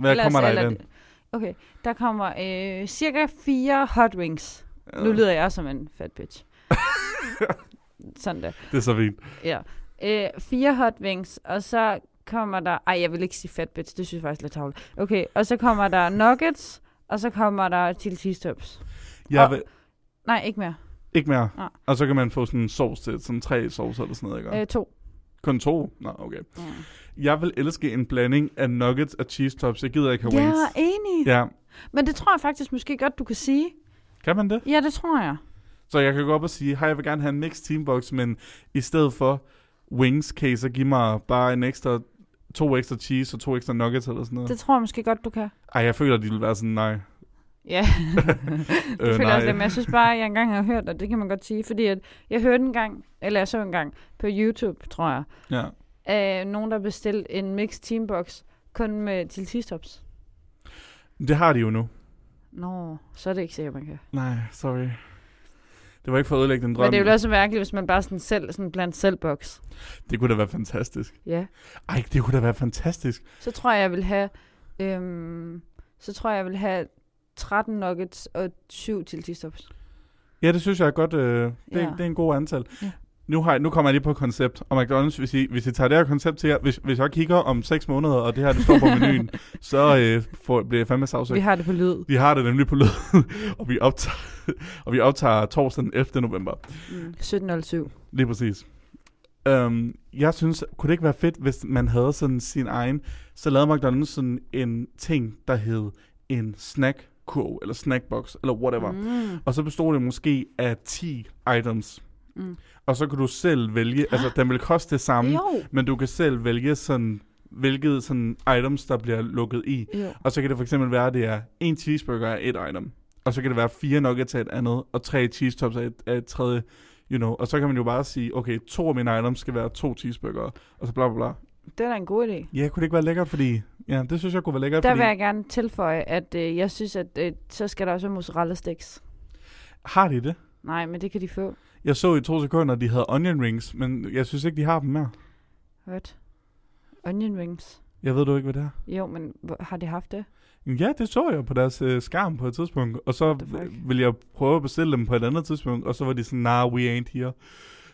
hvad Ellers, kommer der i den?
Okay, der kommer øh, cirka fire hot wings. Nu lyder jeg som en fat bitch. Sådan der.
Det er så fint.
Ja. Øh, fire hot wings, og så kommer der... Ej, jeg vil ikke sige fat bitch, det synes jeg faktisk er lidt tavligt. Okay, og så kommer der nuggets, og så kommer der til T-stops.
Jeg
Og-
vil,
Nej, ikke mere.
ikke mere.
Nej.
Og så kan man få sådan en sovs til, sådan tre sovs eller sådan noget, ikke?
Øh, to.
Kun to? Nå, okay.
Ja,
Jeg vil elske en blanding af nuggets og cheese tops. Jeg gider ikke have
ja
wings.
enig. Ja.
Ja,
Men det tror jeg faktisk måske godt, du kan sige.
kan man det?
Ja, det tror jeg.
Så jeg kan gå op og sige, hej, jeg vil gerne have en mixed teambox, men i stedet for wings, kan I så give mig bare en ekstra, to ekstra cheese og to ekstra nuggets eller sådan noget?
Det tror jeg måske godt, du kan.
Ej, jeg føler, de vil være sådan, nej.
Ja, det
Øh,
øh, føler jeg også
nej.
lidt, men jeg synes bare, at jeg engang har hørt, og det kan man godt sige, fordi at jeg hørte engang, eller jeg så engang på YouTube, tror jeg,
Ja.
af nogen, der bestilte en mixed teambox kun med til T-stops.
Det har de jo nu.
Nå, så er det ikke sikkert, man kan.
Nej, sorry. Det var ikke for at ødelægge den drøm.
Men det er jo også mærkeligt, hvis man bare sådan selv, sådan blandt selv box.
det kunne da være fantastisk.
Ja.
Ej, det kunne da være fantastisk.
Så tror jeg, jeg vil have, øhm, så tror jeg, jeg vil have 13 nuggets og 7 til T-stops.
Ja, det synes jeg er godt. Øh, det,
Ja.
ja. det er en god antal.
Ja.
Ja. Nu, har jeg, nu kommer jeg lige på et koncept. Og McDonald's, hvis I, hvis I tager det her koncept til jer, hvis, hvis jeg kigger om 6 måneder, og det her det står på menuen, så øh, får, bliver jeg fandme
Vi
sagsøgt.
har det på lyd.
Vi har det nemlig på lyd, og vi optager, og vi optager torsdag den 11. november.
Mm. 1707.
Lige præcis. Um, jeg synes, kunne det ikke være fedt, hvis man havde sådan sin egen, så lavede McDonald's sådan en ting, der hed en snackkurv, eller snackbox, eller whatever. Mm.
Mm.
Og så bestod det måske af 10 items.
Mm.
Og så kan du selv vælge, altså den vil koste det samme,
Jo.
men du kan selv vælge sådan, hvilket sådan items, der bliver lukket i.
jo.
Og så kan det for eksempel være, at det er en cheeseburger er et item. Og så kan det være fire nuggets af et andet, og tre cheese tops af et, af et tredje. You know. Og så kan man jo bare sige, okay, to af mine items skal være to cheeseburger, og så bla bla bla.
Det er da en god idé.
Ja, kunne det ikke være lækkert, fordi... Ja, det synes jeg kunne være lækkert,
Der
fordi...
vil jeg gerne tilføje, at øh, jeg synes, at øh, så skal der også være mozzarella sticks.
Har de det?
Nej, men det kan de få.
Jeg så i to sekunder, at de havde onion rings, men jeg synes ikke, de har dem mere.
Hørt? Onion rings.
Jeg ved du ikke, hvad det er.
Jo, men hvor- har de haft det?
Ja, det så jeg på deres øh, skærm på et tidspunkt, og så
the fuck?
ville jeg prøve at bestille dem på et andet tidspunkt, og så var de sådan, nah, we ain't here.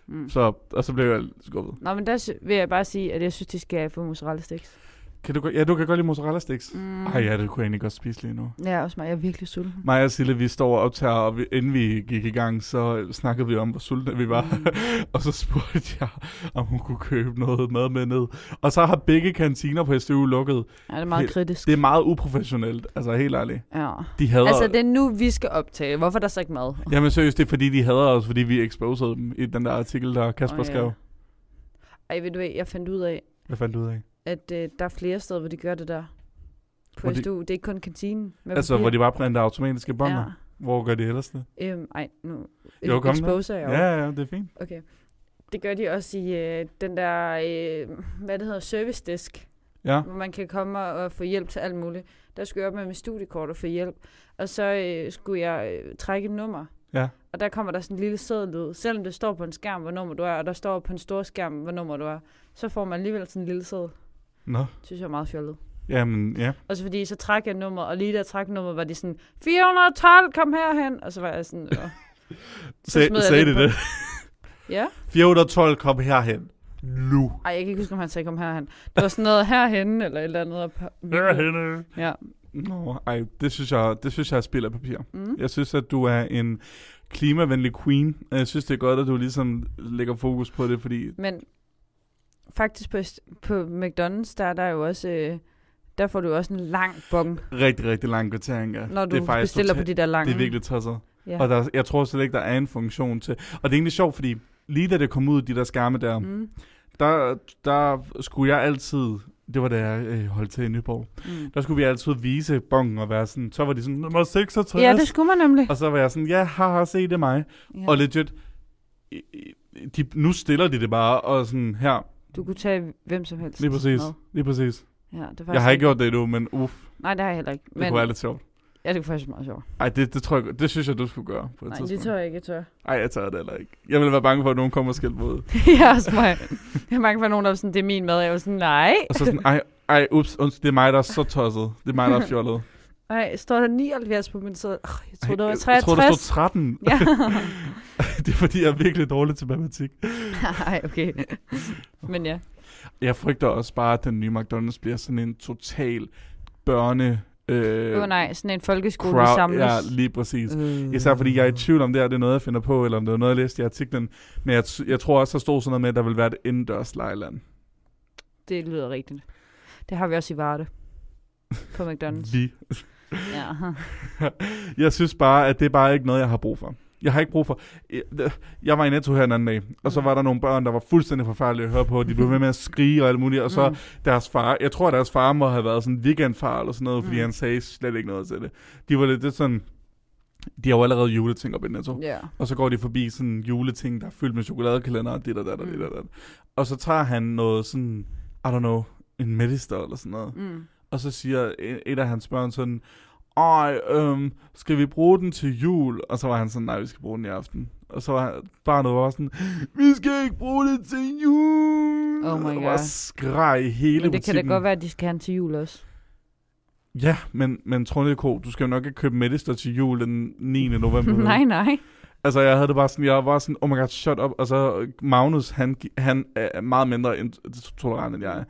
Mm.
Så, og så blev jeg skuffet.
Nå, men der sy- vil jeg bare sige, at jeg synes, de skal få mozzarella sticks.
Kan du, godt- ja, du kan godt lide mozzarella sticks.
Mm.
Ej, ja, det kunne jeg egentlig godt spise lige nu.
Ja, også mig. Jeg er virkelig sulten.
Mig og Sille, vi står og optager, og vi, inden vi gik i gang, så snakkede vi om, hvor sultne vi var.
Mm.
og så spurgte jeg, om hun kunne købe noget mad med ned. Og så har begge kantiner på STU lukket.
Ja, det er meget
Helt-
kritisk.
Det er meget uprofessionelt, altså helt ærligt.
Ja.
De hader...
Altså,
Altså,
det er nu, vi skal optage. Hvorfor er der så ikke mad?
Jamen seriøst, det er fordi, de hader os, fordi vi exposede dem i den der artikel, der Kasper
Åh,
oh,
ja.
ja. skrev.
Ej, ved du hvad, jeg fandt ud af,
Hvad fandt du ud af?
at øh, der er flere steder, hvor de gør det der. På
Hvor de-
SDU. Det er ikke kun kantinen. Med
Altså,
papir.
hvor de bare printer automatiske bånder. Ja. Hvor gør de ellers det?
Ja. Øhm, ej, nu
Jo, kom med.
exposer jeg jo.
Ja, ja, det er fint.
Okay. Det gør de også i øh, den der, øh, hvad det hedder, service disk,
Ja.
hvor man kan komme og, og få hjælp til alt muligt. Der skulle jeg op med mit studiekort og få hjælp, og så øh, skulle jeg øh, trække et nummer.
Ja.
Og der kommer der sådan en lille seddel ud, selvom det står på en skærm, hvor nummer du er, og der står på en stor skærm, hvor nummer du er, så får man alligevel sådan en lille seddel.
Nå.
Det synes jeg er meget fjollet.
Jamen, ja.
Og så fordi, så trak jeg nummer, og lige da jeg trak nummer, var de sådan, 412, kom herhen! Og så var jeg sådan, øh,
Sag,
smed jeg
sagde
lidt
de det?
ja.
412, kom herhen. Nu.
Ej, jeg kan ikke huske, om han sagde, kom herhen. Det var sådan noget herhenne, eller et eller andet. op-
Herhenne.
Ja.
Nå, ej, det synes jeg, det synes jeg er spild af papir.
Mm.
Jeg synes, at du er en klimavenlig queen. Jeg synes, det er godt, at du ligesom lægger fokus på det, fordi...
Men faktisk på, på McDonald's, der er der jo også... Øh, der får du også en lang bong,
Rigtig, rigtig lang kvartering, ja.
når du bestiller på
totalt-
de der lange.
Det er virkelig tosset.
Ja.
Og der, jeg tror slet ikke, der er en funktion til. Og det er egentlig sjovt, fordi lige da det kom ud, de der skærme der, mm.
Mm.
der, der skulle jeg altid... Det var da jeg øh, holdt til i Nyborg.
Mm.
Der skulle vi altid vise bongen og være sådan... Så var de sådan, nummer 66.
Ja, det skulle man nemlig.
Og så var jeg sådan, ja, haha, se, det er mig.
Ja.
Og legit, i- i- de, nu stiller de det bare, og sådan her,
Du kunne tage hvem som helst.
lige præcis,
med.
lige præcis.
Ja, det er faktisk
Jeg har ikke gjort det endnu, men uff, det
Nej, det har jeg heller ikke. Men,
kunne være lidt sjovt.
Ja, det kunne faktisk være meget sjovt.
Ej, det, det, tror jeg, det synes jeg, du skulle gøre på et
Nej, det
tidspunkt.
tror jeg ikke, jeg tør.
Ej, jeg tager det heller ikke. Jeg ville være bange for, at nogen kommer og skælder mod.
ja, også mig. Jeg er mange for nogen, der er sådan, det er min mad. Jeg er jo sådan, nej.
Og så sådan, ej, ej, ups, unds, det er mig, der er så tosset. Det er mig, der er fjollet.
Nej, står der 79 på min side? Oh, jeg
Ej,
troede, det var
Jeg tror, der stod
63.
13.
Ja.
det er, fordi jeg er virkelig dårlig til matematik.
Nej, okay. Men ja.
Jeg frygter også bare, at den nye McDonald's bliver sådan en total børne... Øh,
Åh oh, nej, sådan en folkeskole, vi
crowd.
samles. Mm.
Ja, lige præcis. Især fordi jeg er i tvivl om det her, det er noget, jeg finder på, eller om det er noget, jeg læste i artiklen. Men jeg, t- jeg tror også, der stod sådan noget med, at der vil være et indendørs lejland.
Det lyder rigtigt. Det har vi også i Varde. På McDonald's.
Vi. Mm.
ja.
Jeg synes bare, at det er bare ikke noget, jeg har brug for. Jeg har ikke brug for... Jeg var i Netto her en anden dag, og
Mm.
så var der nogle børn, der var fuldstændig forfærdelige at høre på. De blev ved med at skrige og alt muligt, og så
Mm.
deres far... Jeg tror, at deres far må have været sådan en weekendfar eller sådan noget, fordi
Mm.
han sagde slet ikke noget til det. De var lidt, lidt sådan... De har jo allerede juleting op i Netto.
Mm. ja.
Og så går de forbi sådan en juleting, der er fyldt med chokoladekalender og dit og dat og
Mm.
dit og dat. Og så tager han noget sådan, I don't know, en medister eller sådan noget.
Mm.
Og så siger e- et af hans børn sådan, ej, øhm, skal vi bruge den til jul? Og så var han sådan, nej, vi skal bruge den i aften. Og så var han- barnet var sådan, vi skal ikke bruge det til jul!
Oh my
og
God.
bare skreg i hele
Men det kan
butikken.
da godt være, at de skal have den til jul også.
Ja, men, men Trondheim K, du skal jo nok ikke købe medister til jul den 9. november. vel?
nej, nej.
Altså, jeg havde det bare sådan, jeg var sådan, oh my god, shut up. Og så Magnus, han, gi- han er meget mindre end- tolerant, end jeg er.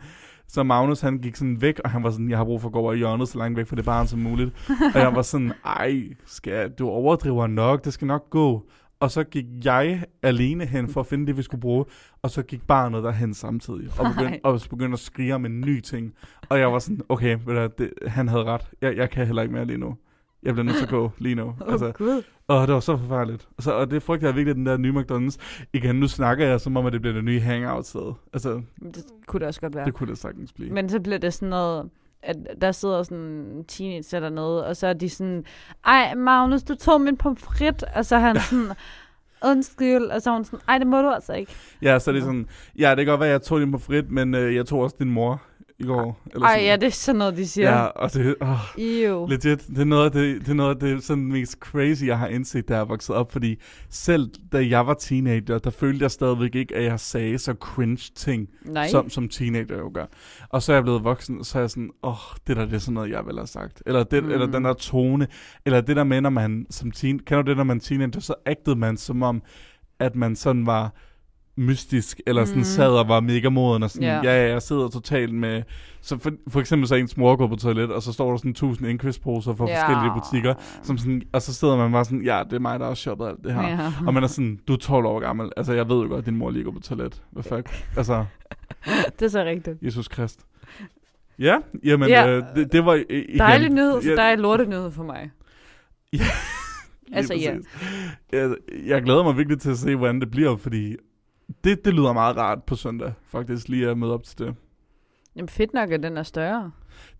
Så Magnus, han gik sådan væk, og han var sådan, jeg har brug for at gå over i hjørnet så langt væk fra det barn som muligt. og jeg var sådan, ej, skal du overdriver nok, det skal nok gå. Og så gik jeg alene hen for at finde det, vi skulle bruge. Og så gik barnet derhen samtidig. Og begyndte,
Ej.
og så begyndte at skrige om en ny ting. Og jeg var sådan, okay, ved du, hvad, det, han havde ret. Jeg, jeg kan heller ikke mere lige nu. Jeg bliver nødt til at gå lige nu. Altså,
Åh, oh, gud.
Og det var så forfærdeligt. Og, så, og det frygter jeg virkelig, den der nye McDonald's. Igen, nu snakker jeg, som om at det bliver det nye hangout-sted. Altså,
Men Det kunne det også godt være.
ja. det kunne det sagtens blive.
Men så bliver det sådan noget, at der sidder sådan en teenager dernede, og så er de sådan, ej Magnus, du tog min pomfrit, og så er han sådan, undskyld, og så er hun sådan, ej det må du altså ikke.
Ja, så er det sådan, ja, det kan godt være, at jeg tog din på frit, men øh, jeg tog også din mor i går. Eller
Ej
sådan.
ja, det er sådan noget, de siger.
Ja,
Ja.
og det, åh,
Ew.
legit, det er noget af det, det, er noget af det sådan mest crazy, jeg har indset, da jeg er vokset op, fordi selv da jeg var teenager, der følte jeg stadigvæk ikke, at jeg sagde så cringe ting,
Nej.
som, som teenager jo gør. Og så er jeg blevet voksen, og så er jeg sådan, åh, oh, det der, det er sådan noget, jeg vil have sagt. Eller, det, mm. eller den der tone, eller det der med, når man som teen, kender du det, når man er teenager, så agtede man som om, at man sådan var mystisk, eller sådan mm. sad og var mega moden, og sådan,
Ja.
yeah. ja, ja, jeg sidder totalt med, så for, for eksempel så er ens mor går på toilet, og så står der sådan 1000 indkøbsposer fra
Ja.
forskellige butikker, som sådan, og så sidder man bare sådan, ja, det er mig, der har shoppet alt det her.
Ja.
Og man er sådan, du er 12 år gammel, altså jeg ved jo godt, at din mor lige går på toilet. Hvad fuck? Altså,
Det er så rigtigt.
Jesus Krist. Ja, jamen,
Ja.
ja. Øh, det, det var øh, igen...
Dejlig nyhed, for
Ja,
der er lorte nyhed for mig.
Ja. lige
altså ja.
præcis. Jeg, jeg glæder mig virkelig til at se, hvordan det bliver, fordi det, det lyder meget rart på søndag, faktisk, lige at møde op til det.
Jamen fedt nok, at den er større.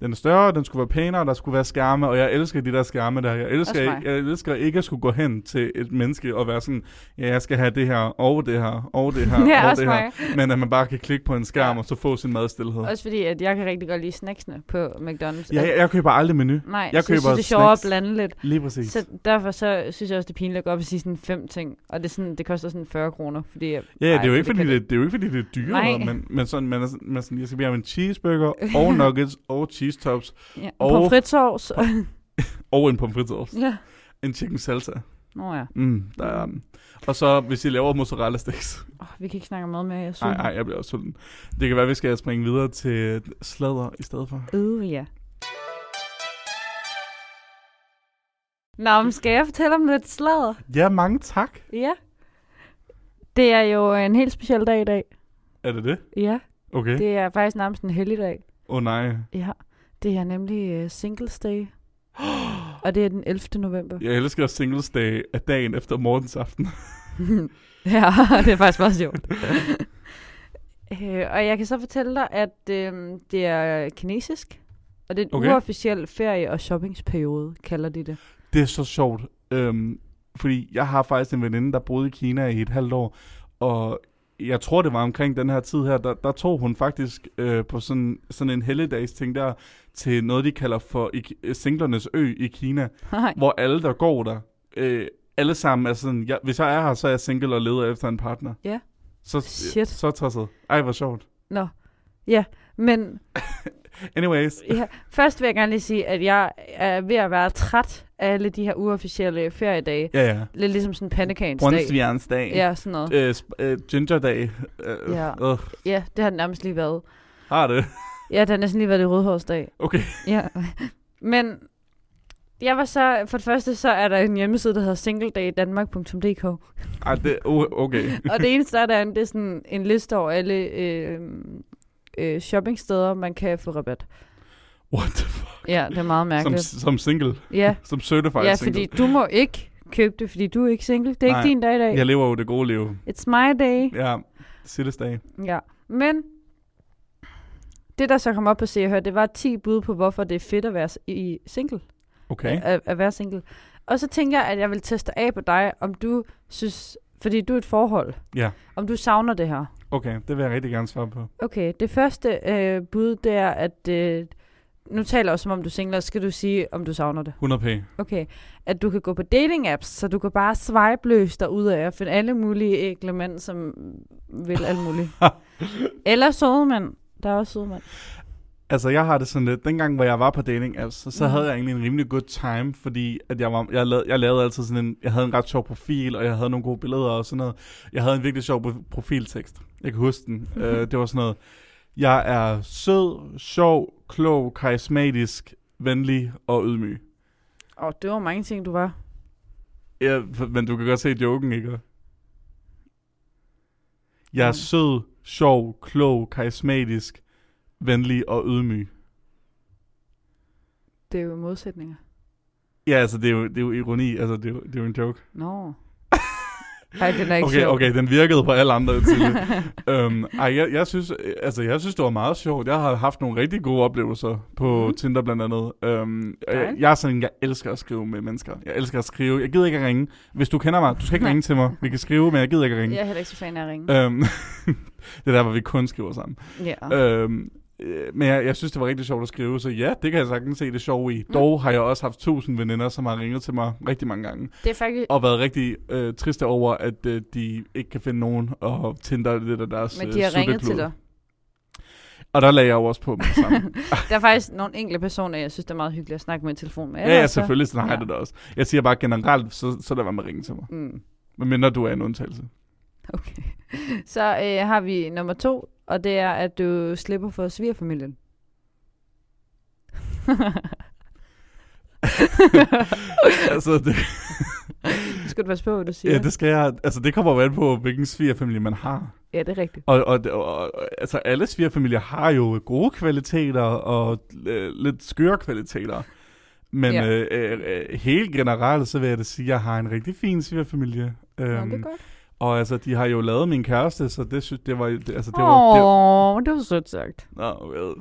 Den er større, den skulle være pænere, der skulle være skærme, og jeg elsker de der skærme der. Jeg elsker,
Også mig.
ikke, jeg elsker ikke at skulle gå hen til et menneske og være sådan, ja, jeg skal have det her, og det her, og det her,
Ja,
og
også
det her.
mig.
Men at man bare kan klikke på en skærm,
Ja.
ja. og så få sin mad i stilhed.
Også fordi, at jeg kan rigtig godt lide snacksene på McDonald's.
Ja, jeg, jeg køber aldrig menu.
Nej,
jeg
så jeg
køber
synes, det er sjovere at
snacks.
blande lidt.
Lige præcis.
Så derfor så synes jeg også, det er pinligt at gå op og sige sådan fem ting. Og det, er sådan, det koster sådan 40 kroner. Fordi, ja,
Ja, det er, jo ikke, fordi det, det er jo ikke, fordi det er
Nej.
dyrere, men, men sådan, man er, sådan- man er sådan, jeg skal bede om en cheeseburger, og nuggets, og cheese tops,
Ja, og...
og-
Pomfritsovs.
og en pomfritårs.
ja.
En chicken salsa.
Nå ja.
Mm, der er den. Og så, hvis jeg laver mozzarella sticks.
Oh, vi kan ikke snakke om mad mere. Jeg er
Nej,
sulten.
nej, jeg bliver også sulten. Det kan være, vi skal springe videre til sladder i stedet for.
Øh, ja. Nå, men skal jeg fortælle om lidt sladder?
Ja, mange tak.
Ja. Det er jo en helt speciel dag i dag.
Er det det?
Ja,
Okay. Åh
det er faktisk nærmest en helligdag.
oh, nej.
Ja, det er nemlig uh, Singles Day. Og det er den 11. november.
Jeg elsker singles day af dagen efter morgens aften.
Ja, det er faktisk meget sjovt. øh, og jeg kan så fortælle dig, at øh, det er kinesisk, og det er en okay.
Okay.
uofficiel ferie- og shoppingsperiode, kalder de det.
Det er så sjovt, øhm, fordi jeg har faktisk en veninde, der boede i Kina i et halvt år, og jeg tror, det var omkring den her tid her, der, der tog hun faktisk øh, på sådan, sådan en helligdags ting der, til noget, de kalder for i, Singlernes Ø i Kina,
Nej.
hvor alle, der går der, øh, alle sammen er sådan, jeg, hvis jeg er her, så er jeg single og leder efter en partner.
Ja.
Så,
Shit.
så tosset. Ej, hvor sjovt.
Nå. Ja, men
Anyways,
ja, først vil jeg gerne lige sige, at jeg er ved at være træt af alle de her uofficielle feriedage.
ja ja.
Lidt ligesom sådan pandekagens dag.
Brunsvigernes dag.
Ja, sådan noget.
Øh, sp- øh, gingerdag. Øh,
Ja.
øh,
Ja, det har den nærmest lige været.
har det.
Ja, det har næsten lige været det rødhårsdag.
Okay.
Ja, men jeg var så, for det første så er der en hjemmeside, der hedder singledaydanmark.dk,
Ej, det, o- okay.
og det eneste der er derinde, det er sådan en liste over alle øh, øh, shoppingsteder, man kan få rabat.
What the fuck?
Ja, det er meget
Som,
mærkeligt.
som single.
Ja,
Som certified
ja
single.
fordi du må ikke købe det, fordi du er ikke single. Det er
Nej.
ikke din dag i dag.
Jeg lever jo det gode liv.
It's my day.
Ja, Sillesdag.
Ja, men det, der så kom op på Se og Hør, det var 10 bud på, hvorfor det er fedt at være s- i single.
Okay.
at, at være single. Og så tænker jeg, at jeg vil teste af på dig, om du synes, fordi du er et forhold,
Ja,
om du savner det her.
okay. Det vil jeg rigtig gerne svare på.
Okay, det første øh, bud, det er, at øh, nu taler jeg også, som om du er single, og så skal du sige, om du savner det.
100p.
Okay, at du kan gå på dating apps, så du kan bare swipe løs derudad og finde alle mulige ægle mænd, som vil alt muligt. Eller søde mænd. Der er også søde mænd.
Altså, jeg har det sådan lidt. Dengang, hvor jeg var på dating apps, så,
Mhm.
så havde jeg egentlig en rimelig good time, fordi at jeg, var, jeg, lavede, jeg lavede altid sådan en... Jeg havde en ret sjov profil, og jeg havde nogle gode billeder og sådan noget. Jeg havde en virkelig sjov pro- profiltekst. Jeg kan huske den. uh, det var sådan noget. Jeg er sød, sjov, klog, karismatisk, venlig og ydmyg.
Og det var mange ting, du var.
Ja, f- men du kan godt se joken, ikke? Jeg er sød, sjov, klog, karismatisk, venlig og ydmyg.
Det er jo modsætninger.
Ja, altså, det er jo, det er jo ironi. Altså, det er jo, det er jo en joke.
Nå. Ej, den er ikke
Okay,
sjov.
okay, den virkede på alle andre til. øhm, ej, jeg, jeg, synes, øh, altså, jeg synes, det var meget sjovt. Jeg har haft nogle rigtig gode oplevelser på mm. Tinder blandt andet. Øhm, jeg,
Mhm. Dejligt.
jeg er sådan, en, jeg elsker at skrive med mennesker. Jeg elsker at skrive. Jeg gider ikke at ringe. Hvis du kender mig, du skal ikke
Nej.
ringe til mig. Vi kan skrive, men jeg gider ikke at ringe.
Jeg er heller ikke så fan af at ringe.
Øhm, det er der, hvor vi kun skriver sammen.
Ja.
Øhm, øh, men jeg, jeg synes, det var rigtig sjovt at skrive, så ja, det kan jeg sagtens se det sjove
Mm.
i. Dog har jeg også haft tusind veninder, som har ringet til mig rigtig mange gange,
Det er faktisk...
og været rigtig øh, triste over, at øh, de ikke kan finde nogen, og Tinder er lidt af deres
Men
øh,
de har ringet til
sutteklud.
dig.
Og der lagde jeg jo også på med det samme.
Der er faktisk nogle enkelte personer, jeg synes, det er meget hyggeligt at snakke med i telefon med. altså.
ja,
Ellers
ja,
så-
selvfølgelig, sådan har jeg
Ja.
det da også. Jeg siger bare generelt, så, så lad være med at ringe til mig.
Mm,
Men mindre du er en undtagelse.
okay. Så øh, har vi nummer to, og det er, at du slipper for svigerfamilien.
altså, det,
Det skal du passe på, hvad du siger.
ja, det skal jeg, altså, det kommer jo an på, hvilken svigerfamilie man har.
ja, det er rigtigt.
Og, og, og, og altså, alle svigerfamilier har jo gode kvaliteter og øh, lidt skøre kvaliteter. Men
Ja.
ja. øh, øh, øh, helt generelt, så vil jeg da sige, at jeg har en rigtig fin svigerfamilie. Øhm,
Nå, det er godt.
og altså, de har jo lavet min kæreste, så det synes det var... Det, altså, det
Åh,
var, det,
oh, det var sødt sagt.
nå, well.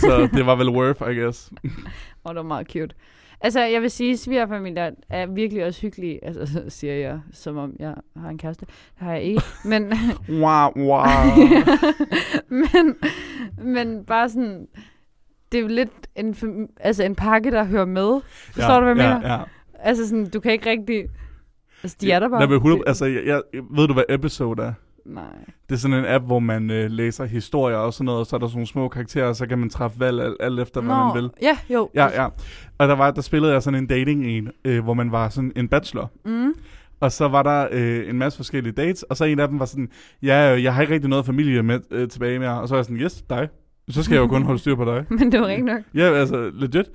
så det var vel worth, I guess.
Og det var meget cute. Altså, jeg vil sige, at svigerfamilier er virkelig også hyggelige. Altså, så siger jeg, som om jeg har en kæreste. Det har jeg ikke. Men,
Wow, wow.
men, men bare sådan... Det er jo lidt en, fam- altså en pakke, der hører med. Forstår du, hvad jeg
ja,
mener?
Ja, ja.
Altså sådan, du kan ikke rigtig... Altså, de er der bare.
Nej, men 100,
Det-
altså, jeg, jeg, ved du, hvad episode er?
Nej.
Det er sådan en app, hvor man øh, læser historier og sådan noget, og så er der sådan nogle små karakterer, og så kan man træffe valg alt, alt efter, hvad man vil.
Ja, jo.
Ja, ja. Og der, var, der spillede jeg sådan en dating en, øh, hvor man var sådan en bachelor.
Mm.
Og så var der øh, en masse forskellige dates, og så en af dem var sådan, ja, øh, jeg har ikke rigtig noget familie med, øh, tilbage med jer. Og så var jeg sådan, yes, dig. Så skal jeg jo kun holde styr på dig.
Men det var ikke nok.
Ja, altså legit.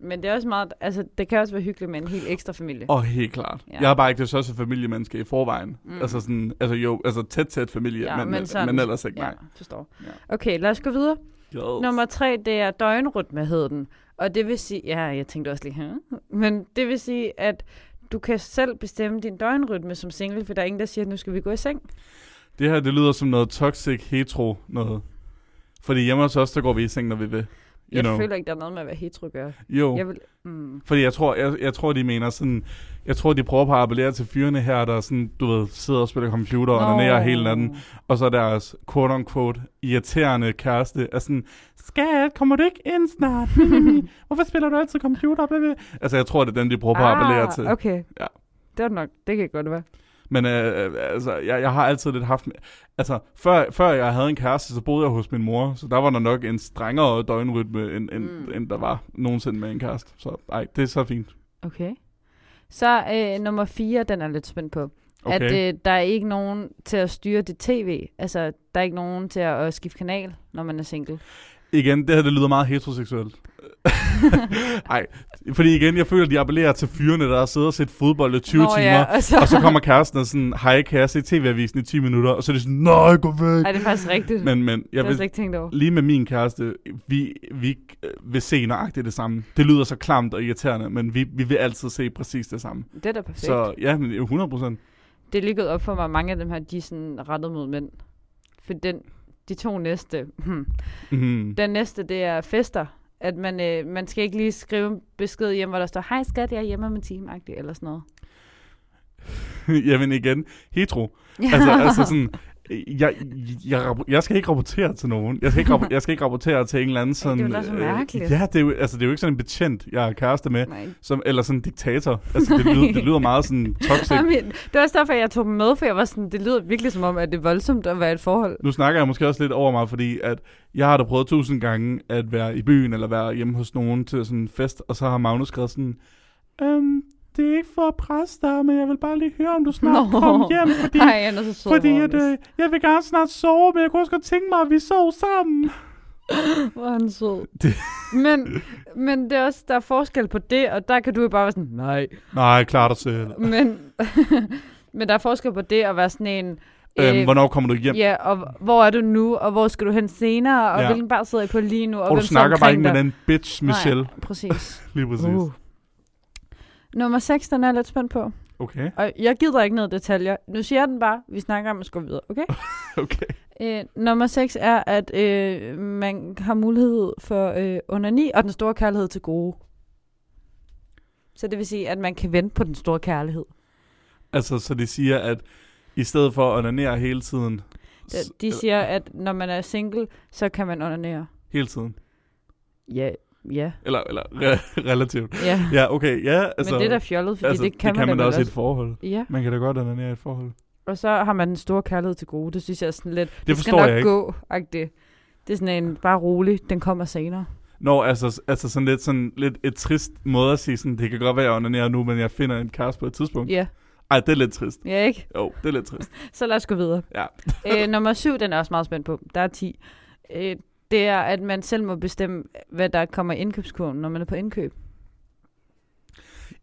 Men det er også meget... Altså, det kan også være hyggeligt med en helt ekstra familie.
Og helt klart.
Ja.
Ja. Jeg er bare ikke det største familiemenneske i forvejen.
Mm.
Mm. Altså sådan, altså jo, altså tæt, tæt familie, ja, men, men,
sådan-
men ellers ikke,
ja,
nej.
forstår.
Ja.
Okay, lad os gå videre.
Jo.
Nummer tre, det er døgnrytme, hed den. Og det vil sige, ja, jeg tænkte også lige, huh? men det vil sige, at du kan selv bestemme din døgnrytme som single, for der er ingen, der siger, at nu skal vi gå i seng.
Det her, det lyder som noget toxic hetero noget. Fordi hjemme hos os, der går vi i seng, når vi vil. You
Jeg
know. Oh.
føler ikke, der er noget med at være hetero gør.
Jo.
Jeg vil, mm,
Fordi jeg tror, jeg, jeg tror, de mener sådan... Jeg tror, de prøver på at appellere til fyrene her, der sådan, du ved, sidder og spiller computer og onanerer hele natten. Og så deres quote-unquote irriterende kæreste er sådan, Skat, kommer du ikke ind snart? Hvorfor spiller du altid computer? Bla, bla. Altså, jeg tror, det er den, de prøver på at appellere til.
Ah, Okay.
Ja.
Det var nok, det kan godt være.
Men øh, øh, altså, jeg, jeg har altid lidt haft... Altså, før, før jeg havde en kæreste, så boede jeg hos min mor, så der var der nok en strengere døgnrytme, end, end,
Mm.
mm. end der var nogensinde med en kæreste. Så ej, det er så fint.
Okay. Så øh, nummer fire, den er jeg lidt spændt på. Okay.
Okay.
At øh, der er ikke nogen til at styre dit tv. Altså, der er ikke nogen til at, at skifte kanal, når man er single.
Igen, det her det lyder meget heteroseksuelt. Ej, fordi igen, jeg føler, de appellerer til fyrene, der sidder og set fodbold i 20 Nå,
Nå,
timer,
Ja,
ja.
og så,
og så kommer kæresten og sådan, hej, kan jeg se tv-avisen i 10 minutter? Og så er det sådan, nej, gå væk.
Ej, det er faktisk rigtigt. Men,
Men, men,
jeg
jeg
det har jeg slet
vil,
ikke tænkt over.
lige med min kæreste, vi, vi øh, vil se nøjagtigt det samme. Det lyder så klamt og irriterende, men vi, vi vil altid se præcis det samme.
Det er da perfekt.
Så ja, men 100 procent.
Det er lige gået op for mig, at mange af dem her, de er sådan rettet mod mænd. For den, de to næste, hmm.
Mm-hmm.
den næste, det er fester. At man, øh, man skal ikke lige skrive en besked hjem, hvor der står, hej skat, jeg er hjemme om en time, eller sådan noget.
Jamen igen, hetero. Altså, altså sådan, jeg, jeg, rap- jeg skal ikke rapportere til nogen. Jeg skal ikke, rap- jeg skal ikke rapportere til en eller anden sådan...
det er jo da så
øh,
mærkeligt.
ja, det er, jo, altså, det er jo ikke sådan en betjent, jeg er kæreste med.
Nej.
Som, eller sådan en diktator. Altså, det, lyder, det lyder meget sådan toxic.
Jamen, det var også derfor, jeg tog dem med, for jeg var sådan, det lyder virkelig som om, at det er voldsomt at være i et forhold.
Nu snakker jeg måske også lidt over mig, fordi at jeg har da prøvet tusind gange at være i byen eller være hjemme hos nogen til sådan en fest, og så har Magnus skrevet sådan, øhm, det er ikke for at presse dig, men jeg vil bare lige høre, om du snart no.
Nå.
kom hjem, fordi,
Nej, han er så sød.
fordi at,
Magnus.
øh, jeg vil gerne snart sove, men jeg kunne også godt tænke mig, at vi sov sammen.
Hvor er han sød.
Det-
Men, men det er også, der er forskel på det, og der kan du jo bare være sådan, nej.
Nej, klar dig selv.
Men, men der er forskel på det at være sådan en,
Øhm, hvornår kommer du hjem?
Øh, ja, og hvor er du nu, og hvor skal du hen senere, og
Ja.
ja. hvilken bar sidder jeg på lige nu, og,
Og
hvem
du
sidder
snakker bare ikke
omkring
med
dig?
den bitch, Michelle.
Nej, præcis.
Lige præcis.
uh. Nummer 6, den er jeg lidt spændt på.
Okay,
Og jeg gider ikke noget detaljer. Nu siger jeg den bare. Vi snakker om at gå videre, okay?
okay.
Øh, nummer 6 er, at øh, man har mulighed for øh, onani og den store kærlighed til gode. Så det vil sige, at man kan vente på den store kærlighed.
Altså, så de siger, at i stedet for at onanere hele tiden... s-
De siger, at når man er single, så kan man onanere.
Hele tiden.
Ja, ja,
Eller, eller re- relativt.
ja.
Ja, okay, ja.
Altså,
Altså,
Men det er da fjollet, fordi
altså,
det kan man,
man da
vel
også i et forhold.
Ja,
Man kan da godt onanere i et forhold.
og så har man den store kærlighed til gode. Det synes jeg er sådan lidt, det, skal
forstår
nok
jeg ikke.
gå, agtigt. Det er sådan en, bare rolig, den kommer senere.
Nå, altså, altså sådan lidt, sådan lidt et trist måde at sige sådan, det kan godt være, jeg onanerer nu, men jeg finder en kæreste på et tidspunkt.
Ja,
Ej, det er lidt trist.
ja ikke?
Jo, det er lidt trist.
Så lad os gå videre.
Ja.
øh, nummer syv, den er også meget spændt på. Der er 10. Øh, det er, at man selv må bestemme, hvad der kommer i indkøbskurven, når man er på indkøb.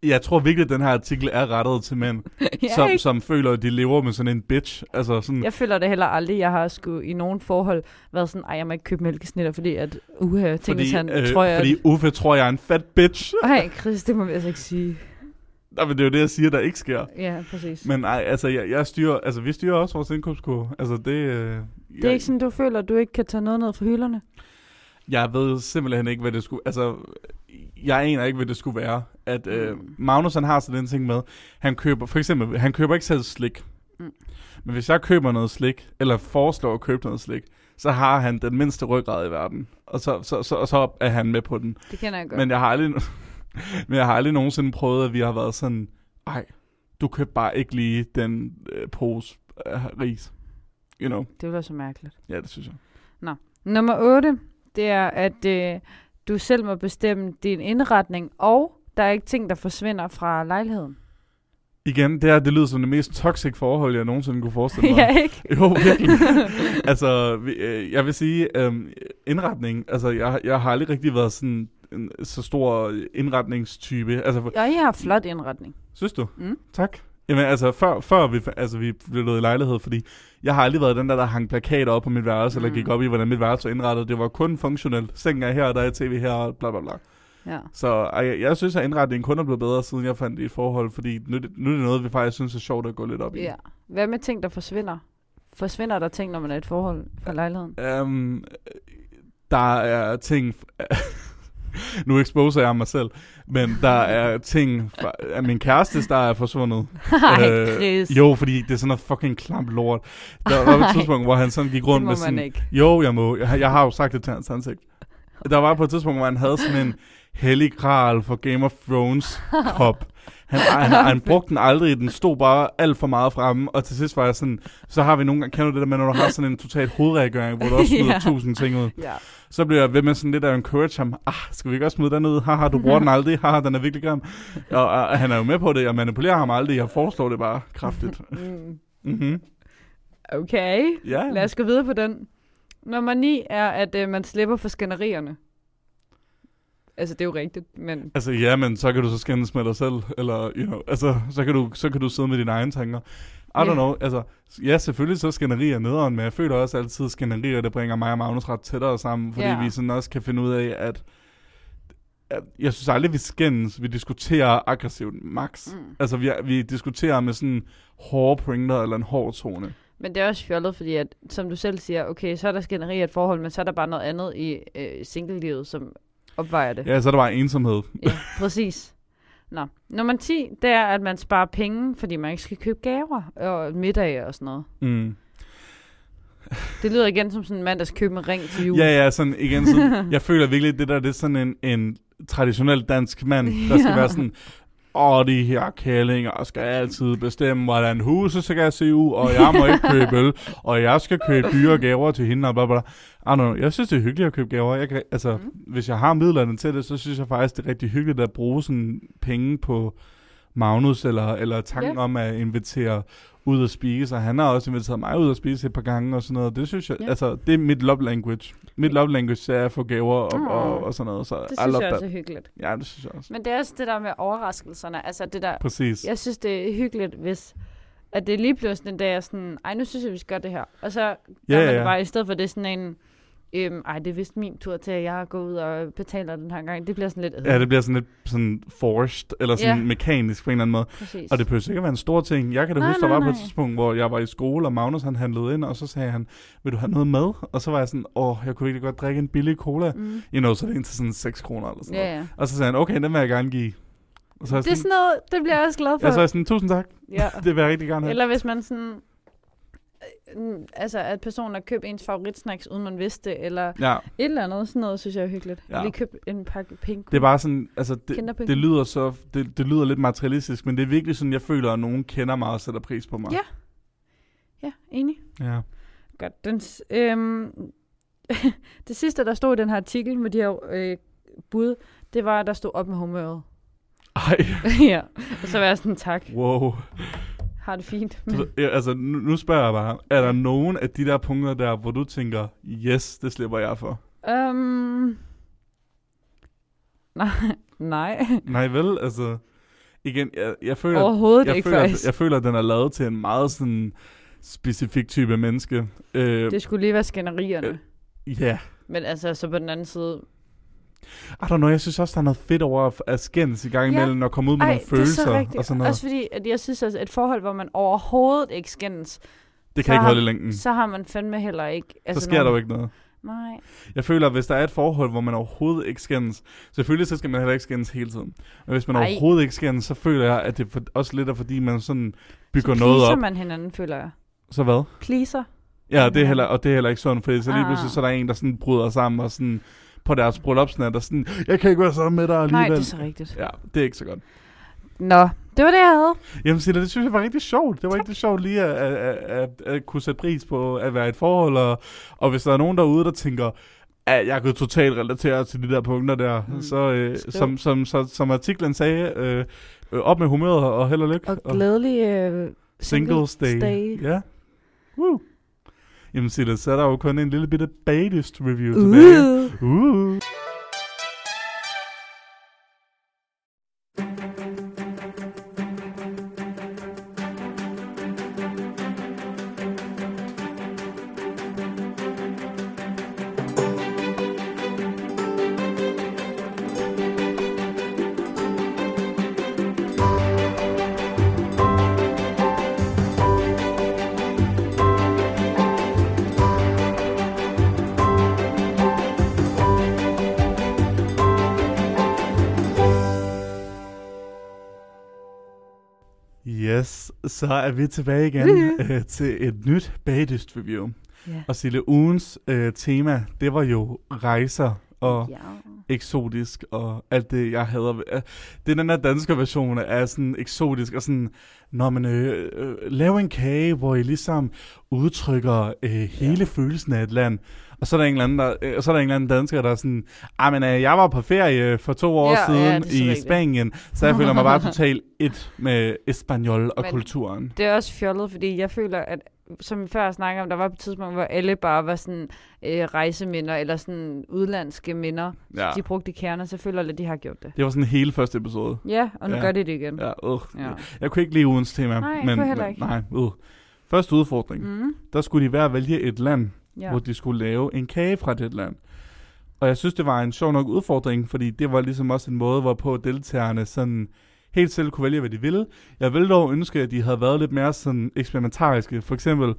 Jeg tror virkelig, at den her artikel er rettet til mænd,
ja,
som,
ikke?
som føler, at de lever med sådan en bitch. Altså sådan,
Jeg føler det heller aldrig. Jeg har sgu i nogen forhold været sådan, ej, jeg må ikke købe mælkesnitter, fordi at, uha, tænkes han, øh, tror jeg...
fordi
Fordi...
Uffe tror, jeg er en fat bitch.
Ej, Chris, det må vi altså ikke sige.
Nej, men det er jo det, jeg siger, der ikke sker.
Ja, præcis. Men,
Men ej, altså, jeg, jeg styrer, altså, vi styrer også vores indkøbskurve. Altså, det... Øh,
det er ikke sådan, du føler, at du ikke kan tage noget ned fra hylderne.
Jeg ved simpelthen ikke, hvad det skulle... Altså, jeg aner ikke, hvad det skulle være. At øh,
Mm.
Magnus, han har sådan en ting med, han køber, for eksempel, han køber ikke selv slik.
Mm.
Men hvis jeg køber noget slik, eller foreslår at købe noget slik, så har han den mindste ryggrad i verden. Og så, så, så, og så er han med på den.
Det kender jeg godt. Men,
Men jeg har aldrig, men jeg har aldrig nogensinde prøvet, at vi har været sådan, ej, du køber bare ikke lige den øh, pose øh, ris. You know.
det ville være så mærkeligt.
Ja, det synes jeg.
Nummer 8, det er, at øh, du selv må bestemme din indretning, og der er ikke ting, der forsvinder fra lejligheden.
Igen, det her, det lyder som det mest toxic forhold, jeg nogensinde kunne forestille mig.
ja, ikke?
Jo, virkelig. altså, vi- øh, jeg vil sige, øh, indretning, altså, jeg, jeg har aldrig rigtig været sådan en så stor indretningstype. Altså, for-
Ja, jeg har flot indretning.
synes du?
Mm.
Tak. Jamen, altså, før, før vi, altså, vi flyttede i lejlighed, fordi jeg har aldrig været den der, der hang plakater op på mit værelse, mm. eller
Mm.
gik op i, hvordan mit værelse var indrettet. Det var kun funktionelt. Sengen er her, og der er et tv her, og bla bla bla.
Ja.
Så ej, jeg, jeg synes, at indretningen kun er blevet bedre, siden jeg fandt det i et forhold, fordi nu, er det- nu er det noget, vi faktisk synes er sjovt at gå lidt op i.
ja. Hvad med ting, der forsvinder? Forsvinder der ting, når man er i et forhold fra lejligheden?
Um, der er ting... nu exposer jeg mig selv, men der er ting fra, af min kærestes, der er forsvundet.
Nej,
Øh,
Chris.
jo, fordi det er sådan noget fucking klamt lort. Der var et
Ej.
tidspunkt, hvor han sådan gik rundt
det må
med
man
sådan...
ikke.
Jo, jeg må. Jeg, har- jeg har jo sagt det til hans ansigt. Der var på et tidspunkt, hvor han havde sådan en hellig kral for Game of Thrones kop. Han, han, han, han brugte den aldrig, den stod bare alt for meget fremme, og til sidst var jeg sådan, så har vi nogle gange, kender du det der med, når du har sådan en total hovedreagering, hvor du også smider
Ja.
tusind ting ud.
Ja.
Så blev jeg ved med sådan lidt at encourage ham, ah, skal vi ikke også smide den ud? Haha, du bruger den aldrig, haha, den er virkelig grim. Og, og, og han er jo med på det, jeg manipulerer ham aldrig, jeg foreslår det bare kraftigt.
Mm.
Mm-hmm.
Okay,
Ja,
lad os gå videre på den. Nummer 9 er, at øh, man slipper for skænderierne. Altså, det er jo rigtigt, men...
Altså ja, men så kan du så skændes med dig selv, eller you know, altså, så, kan du, så kan du sidde med dine egne tanker. I don't
Ja.
know, altså, ja, selvfølgelig så skænderier nederen, men jeg føler også altid skænderier, der bringer mig og Magnus ret tættere sammen, fordi
Ja.
vi sådan også kan finde ud af, at, at jeg synes aldrig, vi skændes, vi diskuterer aggressivt, max. Mm. Altså, vi, vi diskuterer med sådan hårde pointer eller en hård tone.
Men det er også fjollet, fordi at, som du selv siger, okay, så er der skænderi i et forhold, men så er der bare noget andet i øh, singlelivet, som opvejer det.
Ja, så er der bare ensomhed.
ja præcis. Nå. Nummer 10, det er, at man sparer penge, fordi man ikke skal købe gaver og middage og sådan noget.
Mm.
Det lyder igen som sådan en mand, der skal købe en ring til jul.
Ja, ja, sådan igen. Sådan, jeg føler virkelig, det der det er sådan en, en traditionel dansk mand, der skal
Ja.
være sådan, åh, de her kællinger skal altid bestemme, hvordan huset skal se ud, og jeg må ikke købe øl, og jeg skal købe dyre gaver til hende, og bla bla. bla." I don't know, jeg synes, det er hyggeligt at købe gaver. Jeg kan, altså, mm. Hvis jeg har midlerne til det, så synes jeg faktisk, det er rigtig hyggeligt at bruge sådan penge på Magnus, eller, eller tanken yeah. om at invitere ud og spise, og han har også inviteret mig ud og spise et par gange og sådan noget. Det synes jeg,
Ja.
yeah. altså, det er mit love language. Mit love language det er at få gaver og,
Åh.
og, og sådan noget, så
Det
I
synes
love
jeg
that.
også er hyggeligt.
Ja, det synes jeg også.
Men det er også det der med overraskelserne. Altså det der,
Præcis.
jeg synes, det er hyggeligt, hvis at det lige pludselig den dag er sådan, ej, nu synes jeg, vi skal gøre det her. Og så gør
Ja,
man
ja,
det
ja.
bare, i stedet for det er sådan en, øhm, ej, det er vist min tur til, at jeg går ud og betaler den her gang. Det bliver sådan lidt, øh,
Ja, det bliver sådan lidt sådan forced, eller sådan
Ja.
yeah. mekanisk på en eller anden måde.
præcis.
Og det behøver ikke at være en stor ting. Jeg kan da
Nej,
huske, der
nej,
var på et
nej.
tidspunkt, hvor jeg var i skole, og Magnus han handlede ind, og så sagde han, vil du have noget med? Og så var jeg sådan, åh, jeg kunne virkelig godt drikke en billig cola.
mm.
You know, så er det en til sådan 6 kroner eller sådan
Ja,
noget.
ja.
Og så sagde han, okay, den vil jeg gerne give. Og så er jeg
Det er
sådan,
sådan noget, det bliver jeg også glad for.
ja, så er jeg sådan, tusind tak,
ja.
det vil jeg rigtig gerne have.
Eller hvis man sådan, øh, altså at personen har købt ens favoritsnacks, uden man vidste det, eller
Ja,
et eller andet. Sådan noget synes jeg er hyggeligt.
Ja.
Ja. Lige købt en pakke pink.
det er bare sådan, altså det,
Kinderpinken.
det lyder så, det, det lyder lidt materialistisk, men det er virkelig sådan, jeg føler, at nogen kender mig og sætter pris på mig.
Ja. Ja, enig.
ja.
Godt. Den, s- øhm, det sidste, der stod i den her artikel med de her øh, bud, det var, at der stod op med humøret.
Ej,
ja. Og så var jeg sådan, tak.
wow.
Har det fint.
Du
Men,
ved, ja, altså, nu, nu spørger jeg bare, er der nogen af de der punkter der, hvor du tænker, yes, det slipper jeg for?
øhm, nej. Nej.
Nej vel, altså, igen, jeg, jeg føler,
Overhovedet
jeg,
ikke,
føler at,
faktisk.
jeg føler, at den er lavet til en meget sådan specifik type menneske. Øh,
Det skulle lige være skænderierne.
ja,
Men altså, så på den anden side...
I don't know, jeg synes også, der er noget fedt over at, at skændes i gang
Ja.
imellem, og komme ud med nogle følelser og sådan noget.
Også fordi, at jeg synes, at et forhold, hvor man overhovedet ikke skændes,
det
så
kan ikke
har-
holde i længden.
mm.
Så,
så har man fandme heller ikke... altså,
så sker der jo ikke noget.
Nej.
Jeg føler, at hvis der er et forhold, hvor man overhovedet ikke skændes, selvfølgelig så skal man heller ikke skændes hele tiden. Men hvis man Ej.
Ej.
overhovedet ikke skændes, så føler jeg, at det er for, også lidt er fordi, man sådan bygger
så
noget
pleaser
op.
man hinanden, føler jeg.
Så hvad?
Pleaser.
Ja, det er heller, og det er heller ikke sådan, fordi så lige
Ah.
pludselig så er der en, der sådan bryder sammen og sådan på deres bryllupsnat og sådan, jeg kan ikke være sammen med dig
Nej,
alligevel.
det er så rigtigt.
Ja, det er ikke så godt.
Nå, det var det, jeg havde.
Jamen Silla, det synes jeg var rigtig sjovt. Det var rigtig sjovt lige at, at, at, at, at kunne sætte pris på at være i et forhold. Og, og hvis der er nogen derude, der tænker, at jeg kan totalt relatere til de der punkter der, mm.
Mm.
så, øh,
Skriv.
som, som, så, som artiklen sagde, øh, øh, op med humøret og held og lykke.
Og glædelig øh,
singles day.
day.
Ja. Woo. Jamen Silla, så er der jo kun en lille bitte badest review tilbage.
Uh.
Uh. Yes, så er vi tilbage igen øh, til et nyt bagdyst review.
Ja.
Og Sille, ugens øh, tema, det var jo rejser og ja.
ja.
eksotisk og alt det, jeg hader. ved- øh, Det er den der danske version af sådan eksotisk og sådan, når man øh, øh, laver en kage, hvor I ligesom udtrykker øh, hele ja. følelsen af et land. Og så er der en eller anden, der, øh, og så er der en eller anden dansker, der er sådan, ah, men øh, jeg var på ferie for to år
Ja, ja,
siden
det er så
ja, i
rigtigt.
Spanien, så jeg føler mig bare totalt et med espanol og men,
Men-
kulturen.
Det er også fjollet, fordi jeg føler, at som vi før snakkede om, der var på et tidspunkt, hvor alle bare var sådan øh, rejseminder, eller sådan udlandske minder.
Ja.
Ja. De brugte i kerner, så føler jeg, lidt, at de har gjort det.
Det var sådan hele første episode.
Ja, og nu
Ja.
ja. gør de det igen. Ja.
Ja, øh. ja.
Ja.
Jeg kunne ikke lide ugens tema.
Nej, jeg
men,
kunne heller
men-
ikke.
Nej, øh. Første udfordring. Mm.
Mm.
Der skulle de hver vælge et land, ja.
ja.
hvor de skulle lave en kage fra det land. Og jeg synes, det var en sjov nok udfordring, fordi det var ligesom også en måde, hvorpå deltagerne sådan helt selv kunne vælge, hvad de ville. Jeg ville dog ønske, at de havde været lidt mere sådan eksperimentariske. For eksempel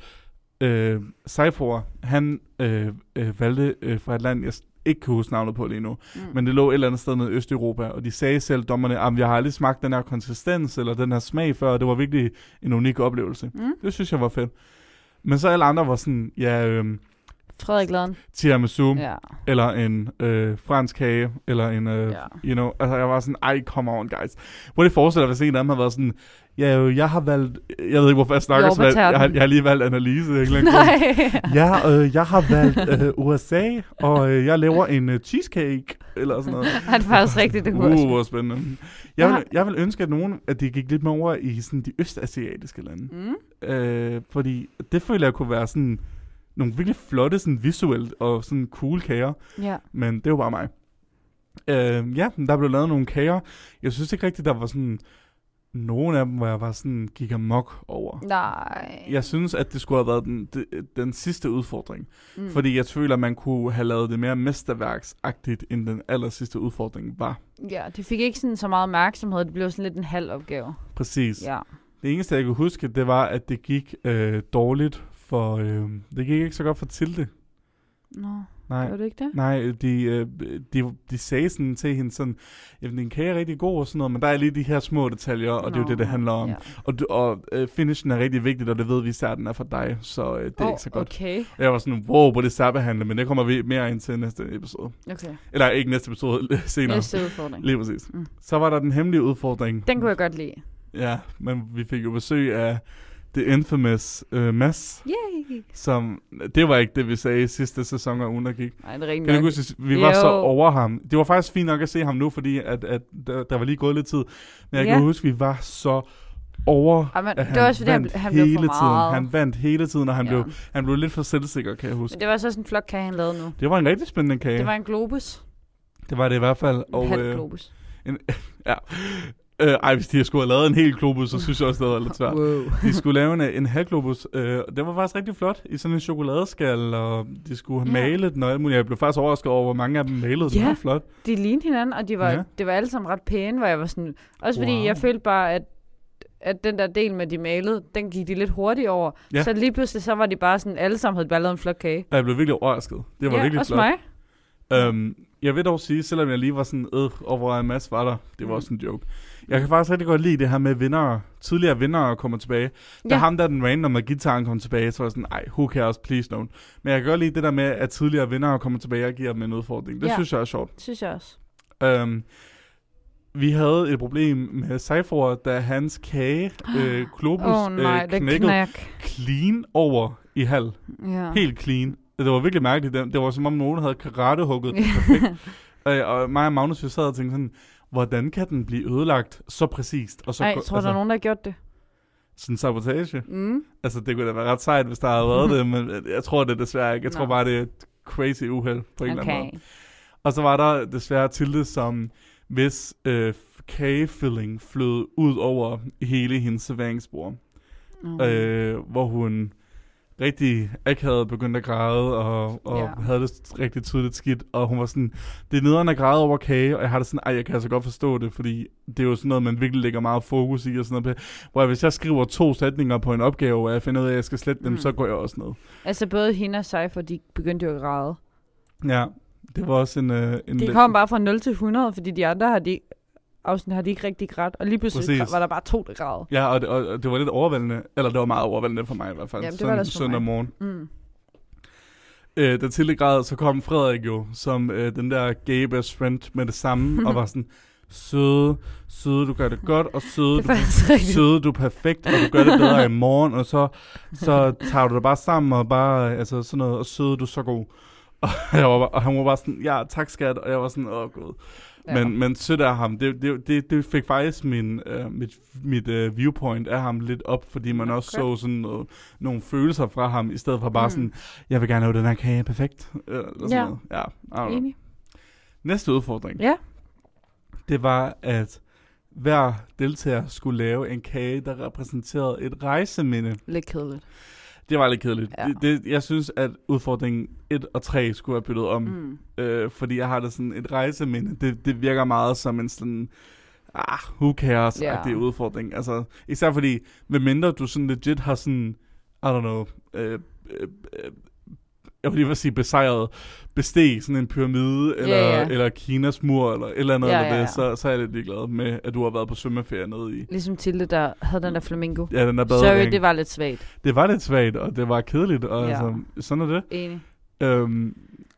øh, Seifor, han øh, øh, valgte øh, fra et land, jeg s- ikke kan huske navnet på lige nu, mm. men det lå et eller andet sted nede i Østeuropa, og de sagde selv, dommerne, at jeg har aldrig smagt den her konsistens eller den her smag før, og det var virkelig en unik oplevelse.
Mm.
Det synes jeg var fedt. Men så alle andre var sådan, ja, øh,
Frederik Laden.
tiramisu, ja.
Ja.
eller en øh, fransk kage, eller en, øh, ja.
Ja.
you know, altså jeg var sådan, ej, come on, guys. Hvor det forestiller, hvis en af dem havde været sådan, ja, øh, jeg har valgt, jeg ved ikke, hvorfor jeg snakker så valgt, jeg,
Jordbærternen.
har- jeg har lige valgt Annelise, ikke eller andet.
Nej.
Ja, øh, jeg har valgt øh, USA, og øh, jeg laver en øh, cheesecake. eller sådan noget.
Han er faktisk rigtigt, det kunne
Uh,
også.
hvor spændende. Jeg
Jeg
vil, jeg vil ønske, at nogen at de gik lidt mere over i sådan de østasiatiske lande.
Mm.
Øh, fordi det føler jeg kunne være sådan nogle virkelig flotte sådan visuelt og sådan cool kager.
Ja.
Men det var bare mig. Øh, ja, men der blev lavet nogle kager. Jeg synes ikke rigtigt, der var sådan... Nogle af dem, hvor jeg var sådan gik amok over.
Nej.
Jeg synes, at det skulle have været den, den, den sidste udfordring.
Mm.
Mm. Fordi jeg føler, at man kunne have lavet det mere mesterværksagtigt, end den aller sidste udfordring var.
Ja, det fik ikke sådan så meget opmærksomhed. Det blev sådan lidt en halv opgave.
Præcis.
Ja.
Det eneste, jeg kan huske, det var, at det gik øh, dårligt for... Øh, det gik ikke så godt for Tilde.
Nå,
Nej.
var det ikke det?
Nej, de, øh, de, de sagde sådan til hende sådan, jamen din kage er rigtig god og sådan noget, men der er lige de her små detaljer, og det er jo
Nå,
det, det handler om.
Ja.
Og, du, og øh, finishen er rigtig vigtigt, og det ved vi især, den er for dig, så øh, det er
Åh,
ikke så godt.
Okay,
Og Jeg var sådan, wow, hvor det særbehandlet, men det kommer vi mere ind til næste episode.
okay.
Eller ikke næste episode, senere.
Næste udfordring.
Lige præcis.
Mm.
Mm. Så var der den hemmelige udfordring.
Den kunne jeg godt lide.
Ja, men vi fik jo besøg af The Infamous øh, Mads,
Yay!
som, det var ikke det, vi sagde i sidste sæson af ugen, der gik.
Nej, det er rigtig
Kan du
nok.
ikke huske, vi var
Jo.
så over ham. Det var faktisk fint nok at se ham nu, fordi at, at der, der var lige gået lidt tid. Men jeg
Ja.
kan huske, vi var så over,
Ej, men
at
det var også fordi, han
vandt
blev- han blev
hele
for
tiden.
meget.
Han vandt hele tiden, og han,
Ja.
ja. blev, han blev lidt for selvsikker, kan jeg huske.
Men det var så også en flok kage, han lavede nu.
Det var en rigtig spændende kage.
Det var en globus.
det, var det i hvert fald.
En
Og,
halv
øh,
globus.
ja. øh, ej, hvis de havde skulle have lavet en hel globus, så synes jeg også, det havde været lidt svært.
Wow.
De skulle lave en, en halvglobus. Øh, og den var faktisk rigtig flot i sådan en chokoladeskal, og de skulle have
Ja.
malet den og alt muligt. Jeg blev faktisk overrasket over, hvor mange af dem malede den.
Ja.
Det var flot.
De lignede hinanden, og de var, ja.
Ja.
det var alle sammen ret pæne, hvor jeg var sådan... Også fordi
Wow.
jeg følte bare, at, at den der del med de malede, den gik de lidt hurtigt over. Ja.
Ja.
Så lige pludselig, så var de bare sådan... Alle sammen havde bare lavet en flok kage.
Og jeg blev virkelig overrasket. Det var
ja,
virkelig
også
flot.
mig.
Øhm, jeg vil dog sige, selvom jeg lige var sådan, øh, og hvor er Mads var der, det var
Mm.
også en joke. Jeg kan faktisk rigtig godt lide det her med vinder, tidligere vinder kommer tilbage. Da
Ja.
ham der den random med gitaren kom tilbage, så var jeg sådan, ej, who cares, please don't. Men jeg kan godt lide det der med, at tidligere vinder kommer tilbage og giver dem en udfordring. Det
Ja.
ja. synes jeg er sjovt.
Synes jeg også.
Øhm, vi havde et problem med Cypher, da hans kage, øh, Globus,
Åh oh, nej,
øh,
det
knækkede
knæk.
clean over i halv.
Ja.
Helt clean. Det var virkelig mærkeligt. Det det var som om nogen havde karatehugget den perfekt. Øh, og mig og Magnus, vi sad og tænkte sådan, hvordan kan den blive ødelagt så præcist? Og så,
Nej,
ko-
jeg tror, der er nogen, der har gjort det.
Sådan en sabotage.
Mm.
Altså, det kunne da være ret sejt, hvis der havde været det, men jeg tror det desværre ikke. Jeg tror
Nå.
bare, det er et crazy uheld på en eller anden
Okay.
måde. Og så var der desværre Tilde, som hvis øh, kagefilling flød ud over hele hendes serveringsbord.
Nå.
Mm. Øh, hvor hun rigtig akavet begyndte at græde, og, og
Ja.
ja. havde det rigtig tydeligt skidt, og hun var sådan, det er nederen at græde over kage, og jeg har det sådan, ej, jeg kan altså godt forstå det, fordi det er jo sådan noget, man virkelig lægger meget fokus i, og sådan noget. Hvor hvis jeg skriver to sætninger på en opgave, og jeg finder ud af, at jeg skal slette dem,
Mm.
mm. så går jeg også ned.
Altså både hende og Cypher, de begyndte jo at græde.
Ja, det var også en... Øh, en
De
lidt-
kom bare fra 0 til 100, fordi de andre har de, afsnit har de ikke rigtig grædt. Og lige pludselig
Præcis.
var der bare to, der græd.
Ja, og det, og og det var lidt overvældende, eller det var meget overvældende for mig i hvert fald,
Jamen, det var det
sådan,
også for
søndag
mig.
morgen.
Mm.
øh, da Tilde græd, så kom Frederik jo, som øh, den der gay best friend med det samme, og var sådan, søde, søde, du gør det godt, og søde,
Det
du,
er faktisk rigtigt.
søde, du er perfekt, og du gør det bedre i morgen, og så, så tager du det bare sammen, og bare, øh, altså sådan noget, og søde, du er så god. Og, jeg var bare, og han var bare sådan, ja, tak skat, og jeg var sådan, åh gud.
Ja.
Ja. Men, men sødt af ham, det, det, det, det fik faktisk min, øh, mit, mit øh, viewpoint af ham lidt op, fordi man også
Okay.
så sådan noget, nogle følelser fra ham, i stedet for bare
Mm.
mm. sådan, jeg vil gerne have den her kage perfekt. Øh, eller sådan
Ja.
ja. Noget. ja I don't know.
Enig.
Næste udfordring,
Ja.
det var, at hver deltager skulle lave en kage, der repræsenterede et rejseminde.
Lidt kedeligt.
Det var lidt kedeligt.
Ja.
Ja. Det, det, jeg synes, at udfordringen 1 og 3 skulle have byttet om.
Mm.
Øh, fordi jeg har da sådan et rejseminde. Det, det virker meget som en sådan... Ah, who cares
Ja.
yeah. udfordring. Altså, især fordi, medmindre du sådan legit har sådan... I don't know... Øh, øh, øh, jeg vil lige vil sige besejret, besteg sådan en pyramide, eller,
ja.
eller Kinas mur, eller et eller andet,
Ja,
ja, eller
ja,
det,
ja.
Så, så er jeg lidt ligeglad med, at du har været på svømmeferie nede i
Ligesom Tilde, der havde den der flamingo.
ja, den der
Sorry,
badering.
det var lidt svagt.
det var lidt svagt, og det var kedeligt, og
Ja.
ja. altså, sådan er det.
Enig.
Øhm,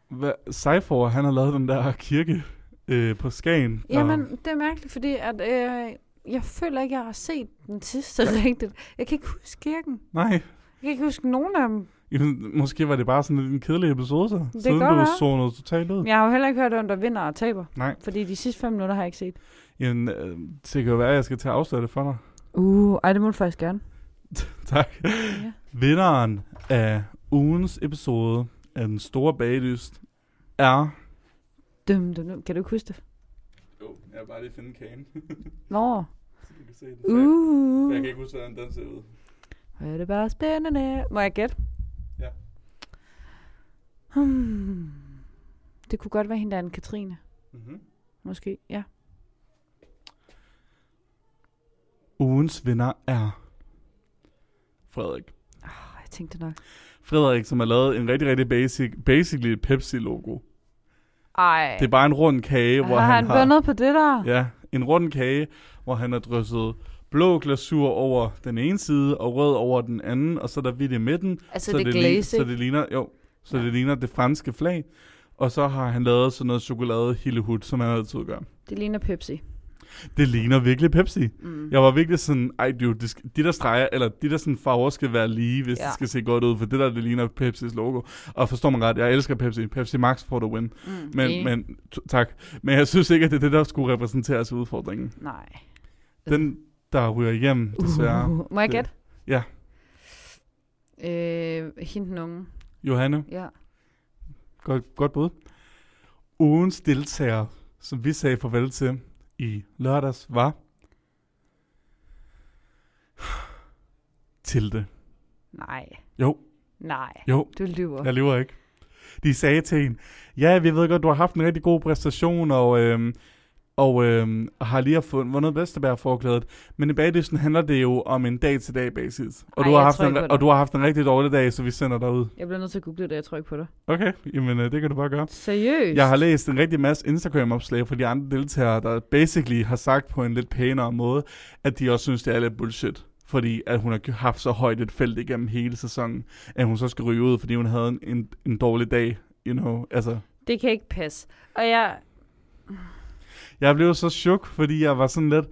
hvad, Seifor, han har lavet den der kirke øh, på Skagen.
Jamen, det er mærkeligt, fordi at, øh, jeg føler ikke, jeg har set den sidste rigtigt. Jeg kan ikke huske kirken.
Og, nej,
Jeg kan ikke huske nogen af dem.
Jamen, måske var det bare sådan lidt en kedelig episode, så.
kan
Siden
godt
du
være.
zonede totalt ud.
Men Jeg har jo heller ikke hørt, om der vinder og taber.
Nej.
Fordi de sidste fem minutter har jeg ikke set.
Jamen, øh, det kan jo være, at jeg skal til at afsløre det for dig.
Uh, ej, det må du faktisk gerne.
tak.
Ja.
Vinderen af ugens episode af Den Store Bagdyst er...
Dum, dum, dum. Kan du ikke huske det?
Jo, jeg vil bare lige finde kagen,
Nå.
så du kan se den.
Uh.
ikke huske, hvordan den ser ud.
Hvor er det bare spændende. Må jeg gætte?
Ja.
Hmm. Det kunne godt være hende der en Katrine.
Mm-hmm.
Måske, ja.
Ugens vinder er... Frederik.
Oh, jeg tænkte nok.
Frederik, som har lavet en rigtig, rigtig basic, basically et Pepsi-logo.
Ej.
Det er bare en rund kage, hvor
har
han
han
har...
vundet på det der?
Ja, en rund kage, hvor han har drysset blå glasur over den ene side, og rød over den anden, og så er der hvidt i midten.
Altså det, det
lig-
glaze.
så det ligner, jo, så det ligner det franske flag. Og så har han lavet sådan noget chokolade hillehut, som han altid gør.
det ligner Pepsi.
Det ligner virkelig Pepsi.
Mm.
Jeg var virkelig sådan, ej dude, det skal, de der streger, eller de der sådan farver skal være lige, hvis ja.
Ja.
det skal se godt ud, for det der, det ligner Pepsis logo. Og forstår man ret, jeg elsker Pepsi. Pepsi Max for the win.
Mm.
Men,
enig.
men t- tak. Men jeg synes ikke, at det er det, der skulle repræsenteres i udfordringen.
Nej.
Den, der ryger hjem, desværre. Uh.
Uh, må jeg
Det-
gætte?
ja.
Øh, hende den unge.
Johanne,
Ja.
godt, godt bud. Ugens deltager, som vi sagde farvel til i lørdags, var... Tilde.
Nej.
Jo,
Nej.
jo,
Du lyver.
Jeg lever ikke. De sagde til hende, ja, vi ved godt, du har haft en rigtig god præstation, og, øhm, og øhm, har lige fået vundet Vesterbær-forklædet. Men i bagdysten handler det jo om en dag-til-dag basis. Og,
Ej,
du har
jeg
haft
tror
en,
ikke på
og
det.
du har haft en rigtig dårlig dag, så vi sender dig ud.
Jeg bliver nødt til at google det, jeg tror ikke på det.
Okay, jamen øh, det kan du bare gøre.
Seriøst?
Jeg har læst en rigtig masse Instagram-opslag fra de andre deltagere, der basically har sagt på en lidt pænere måde, at de også synes, det er lidt bullshit. Fordi at hun har haft så højt et felt igennem hele sæsonen, at hun så skal ryge ud, fordi hun havde en, en, en dårlig dag. You know, altså,
Det kan ikke passe. Og jeg...
jeg blev så chok, fordi jeg var sådan lidt...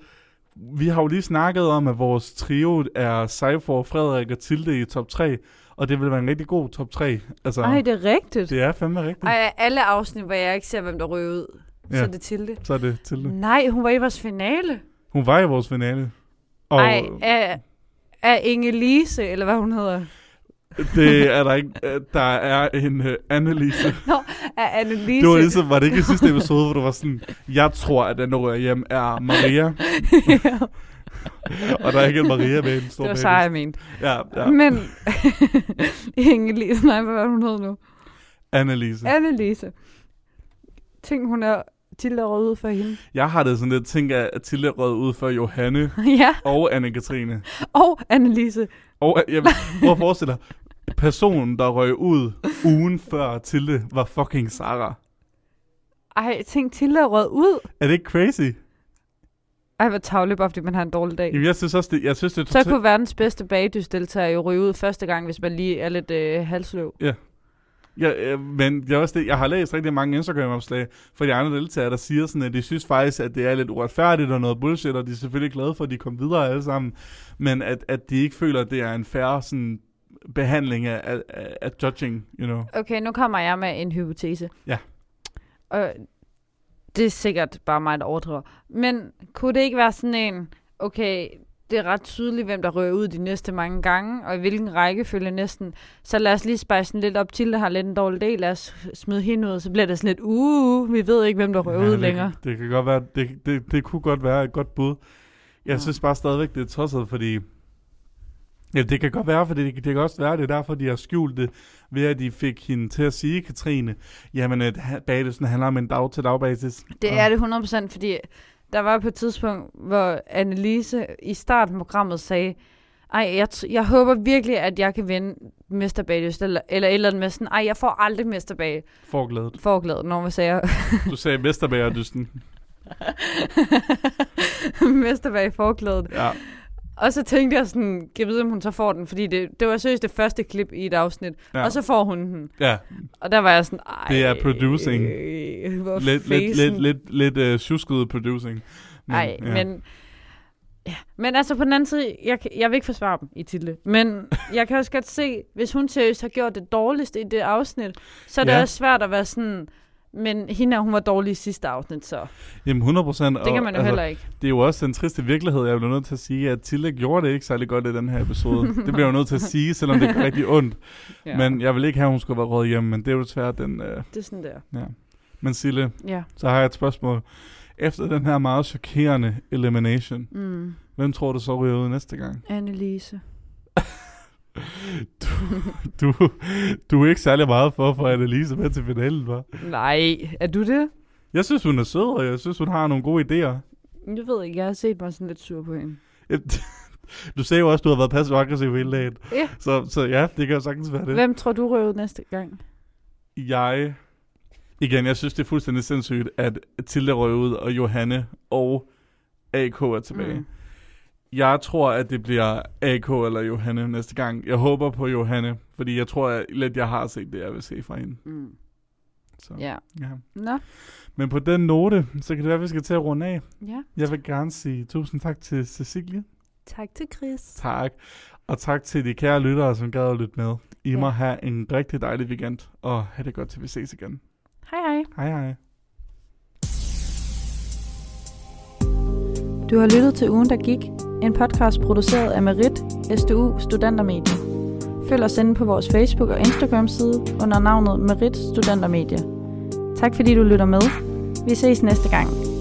Vi har jo lige snakket om, at vores trio er Seifor, Frederik og Tilde i top 3, og det vil være en rigtig god top 3. Altså,
Ej, det er rigtigt.
det er fandme rigtigt.
Ej, alle afsnit, hvor jeg ikke ser, hvem der ryger ud, ja. så
Ja.
er det Tilde.
Så er det Tilde.
Nej, hun var i vores finale.
Hun var i vores finale. Og
Nej, af, af Inge-Lise, eller hvad hun hedder.
det er der ikke. øh, Der er en uh, Annelise.
Af Annelise.
Det var ligesom, var det ikke i sidste episode, hvor du var sådan, jeg tror, at den, der rører hjem, er Maria. og der er ikke en Maria med i den
det
store
var
baby.
så, jeg mente.
Ja,
Ja.
ja.
Men Inge-Lise, nej, hvad var det, hun hed nu?
Annelise.
Annelise. Tænk, hun er Tilde rød ud for hende.
Jeg har det sådan lidt tænkt, at at Tilde rød ud for Johanne
ja,
og Anne-Katrine.
og Annelise.
Og øh, jeg prøv at forestille dig, personen, der røg ud ugen før Tilde, var fucking Sara.
Ej, tænk, Tilde er rød ud.
Er det ikke crazy?
Ej, hvor tavlig, bare fordi man har en dårlig dag.
Jamen, jeg synes også, det, jeg synes, det er
Så
totalt-
kunne verdens bedste bagdysdeltager jo ryge ud første gang, hvis man lige er lidt øh, halsløv.
Ja, øh, men jeg, også det, jeg har læst rigtig mange Instagram-opslag fra de andre deltagere, der siger sådan, at de synes faktisk, at det er lidt uretfærdigt og noget bullshit, og de er selvfølgelig glade for, at de kom videre alle sammen, men at, at de ikke føler, at det er en færre sådan, behandling af, af, af, af judging, you know.
Okay, nu kommer jeg med en hypotese.
Ja.
Og det er sikkert bare mig, der overdriver. Men kunne det ikke være sådan en, okay, det er ret tydeligt, hvem der rører ud de næste mange gange, og i hvilken rækkefølge næsten. Så lad os lige spejse den lidt op til, der har lidt en dårlig del. Lad os smide hende ud, så bliver det sådan lidt, uh, vi ved ikke, hvem der rører
Ja,
ud
det,
længere.
Det kan godt være, det, det, det kunne godt være et godt bud. Jeg
Ja.
synes bare stadigvæk, det er tosset, fordi... Ja, det kan godt være, for det, det kan også være, det er derfor, de har skjult det, ved at de fik hende til at sige, Katrine, jamen, at ha- bagelsen handler om en dag-til-dag basis.
Det er det 100%, fordi der var på et tidspunkt, hvor Annelise i starten af programmet sagde, ej, jeg, t- jeg håber virkelig, at jeg kan vinde Mr. Bagelyst, eller, eller et eller andet med sådan, ej, jeg får aldrig Mr. Bag
Forglædet.
forglædet, når man siger
Du sagde Vesterbagerdysten.
Mr. Bag forglædet.
Ja.
Og så tænkte jeg sådan, kan jeg vide, om hun så får den, fordi det, det var seriøst det første klip i et afsnit,
ja.
og så får hun den.
ja.
Og der var jeg sådan, ej.
Det er producing.
Øh, hvor
Lidt, øh, lidt,
fesen."
lidt, lidt, lidt uh, sjusket producing.
Ej, men Ja. Men altså på den anden side, jeg, kan- jeg vil ikke forsvare dem i title, men jeg kan også godt se, hvis hun seriøst har gjort det dårligste i det afsnit, så er det
Ja.
ja. også svært at være sådan, men hende her, hun var dårlig i sidste afsnit, så
Jamen 100 procent.
det kan man jo altså, heller ikke.
Det er jo også den triste virkelighed, jeg bliver nødt til at sige, at Tilde gjorde det ikke særlig godt i den her episode. det bliver jeg jo nødt til at sige, selvom det er rigtig ondt.
Ja.
altså, Men jeg vil ikke have, at hun skulle være råd hjemme, men det er jo desværre den... Øh...
Det er sådan der.
Men Sille,
Ja.
så har jeg et spørgsmål. Efter den her meget chokerende elimination,
Mm.
hvem tror du så ryger ud næste gang?
Annelise.
Du, du er ikke særlig meget for at få Annelise med til finalen, var.
Nej, er du det?
Jeg synes, hun er sød, og jeg synes, hun har nogle gode idéer.
Jeg ved ikke, jeg har set mig sådan lidt sur på hende.
Du sagde jo også, at du har været passiv aggressiv hele dagen.
Ja.
Så, så ja, det kan jo sagtens være det.
Hvem tror du røver næste gang?
Jeg... Igen, jeg synes, det er fuldstændig sindssygt, at Tilde røg ud, og Johanne og AK er tilbage. Mm.
Mm.
Jeg tror, at det bliver AK eller Johanne næste gang. Jeg håber på Johanne, fordi jeg tror at lidt, jeg har set det, jeg vil se fra hende.
Mm.
Så,
Ja.
ja.
Nå,
Men på den note, så kan det være, at vi skal til at runde af.
ja.
Jeg vil gerne sige tusind tak til Cecilie.
Tak til Chris.
Tak. Og tak til de kære lyttere, som gad at lytte med. I
Ja.
må have en rigtig dejlig weekend, og have det godt, til vi ses igen.
Hej hej.
Hej hej.
Du har lyttet til Ugen, der gik. En podcast produceret af Merit, SDU Studentermedie. Følg os inde på vores Facebook- og Instagram-side under navnet Merit Studentermedie. Tak fordi du lytter med. Vi ses næste gang.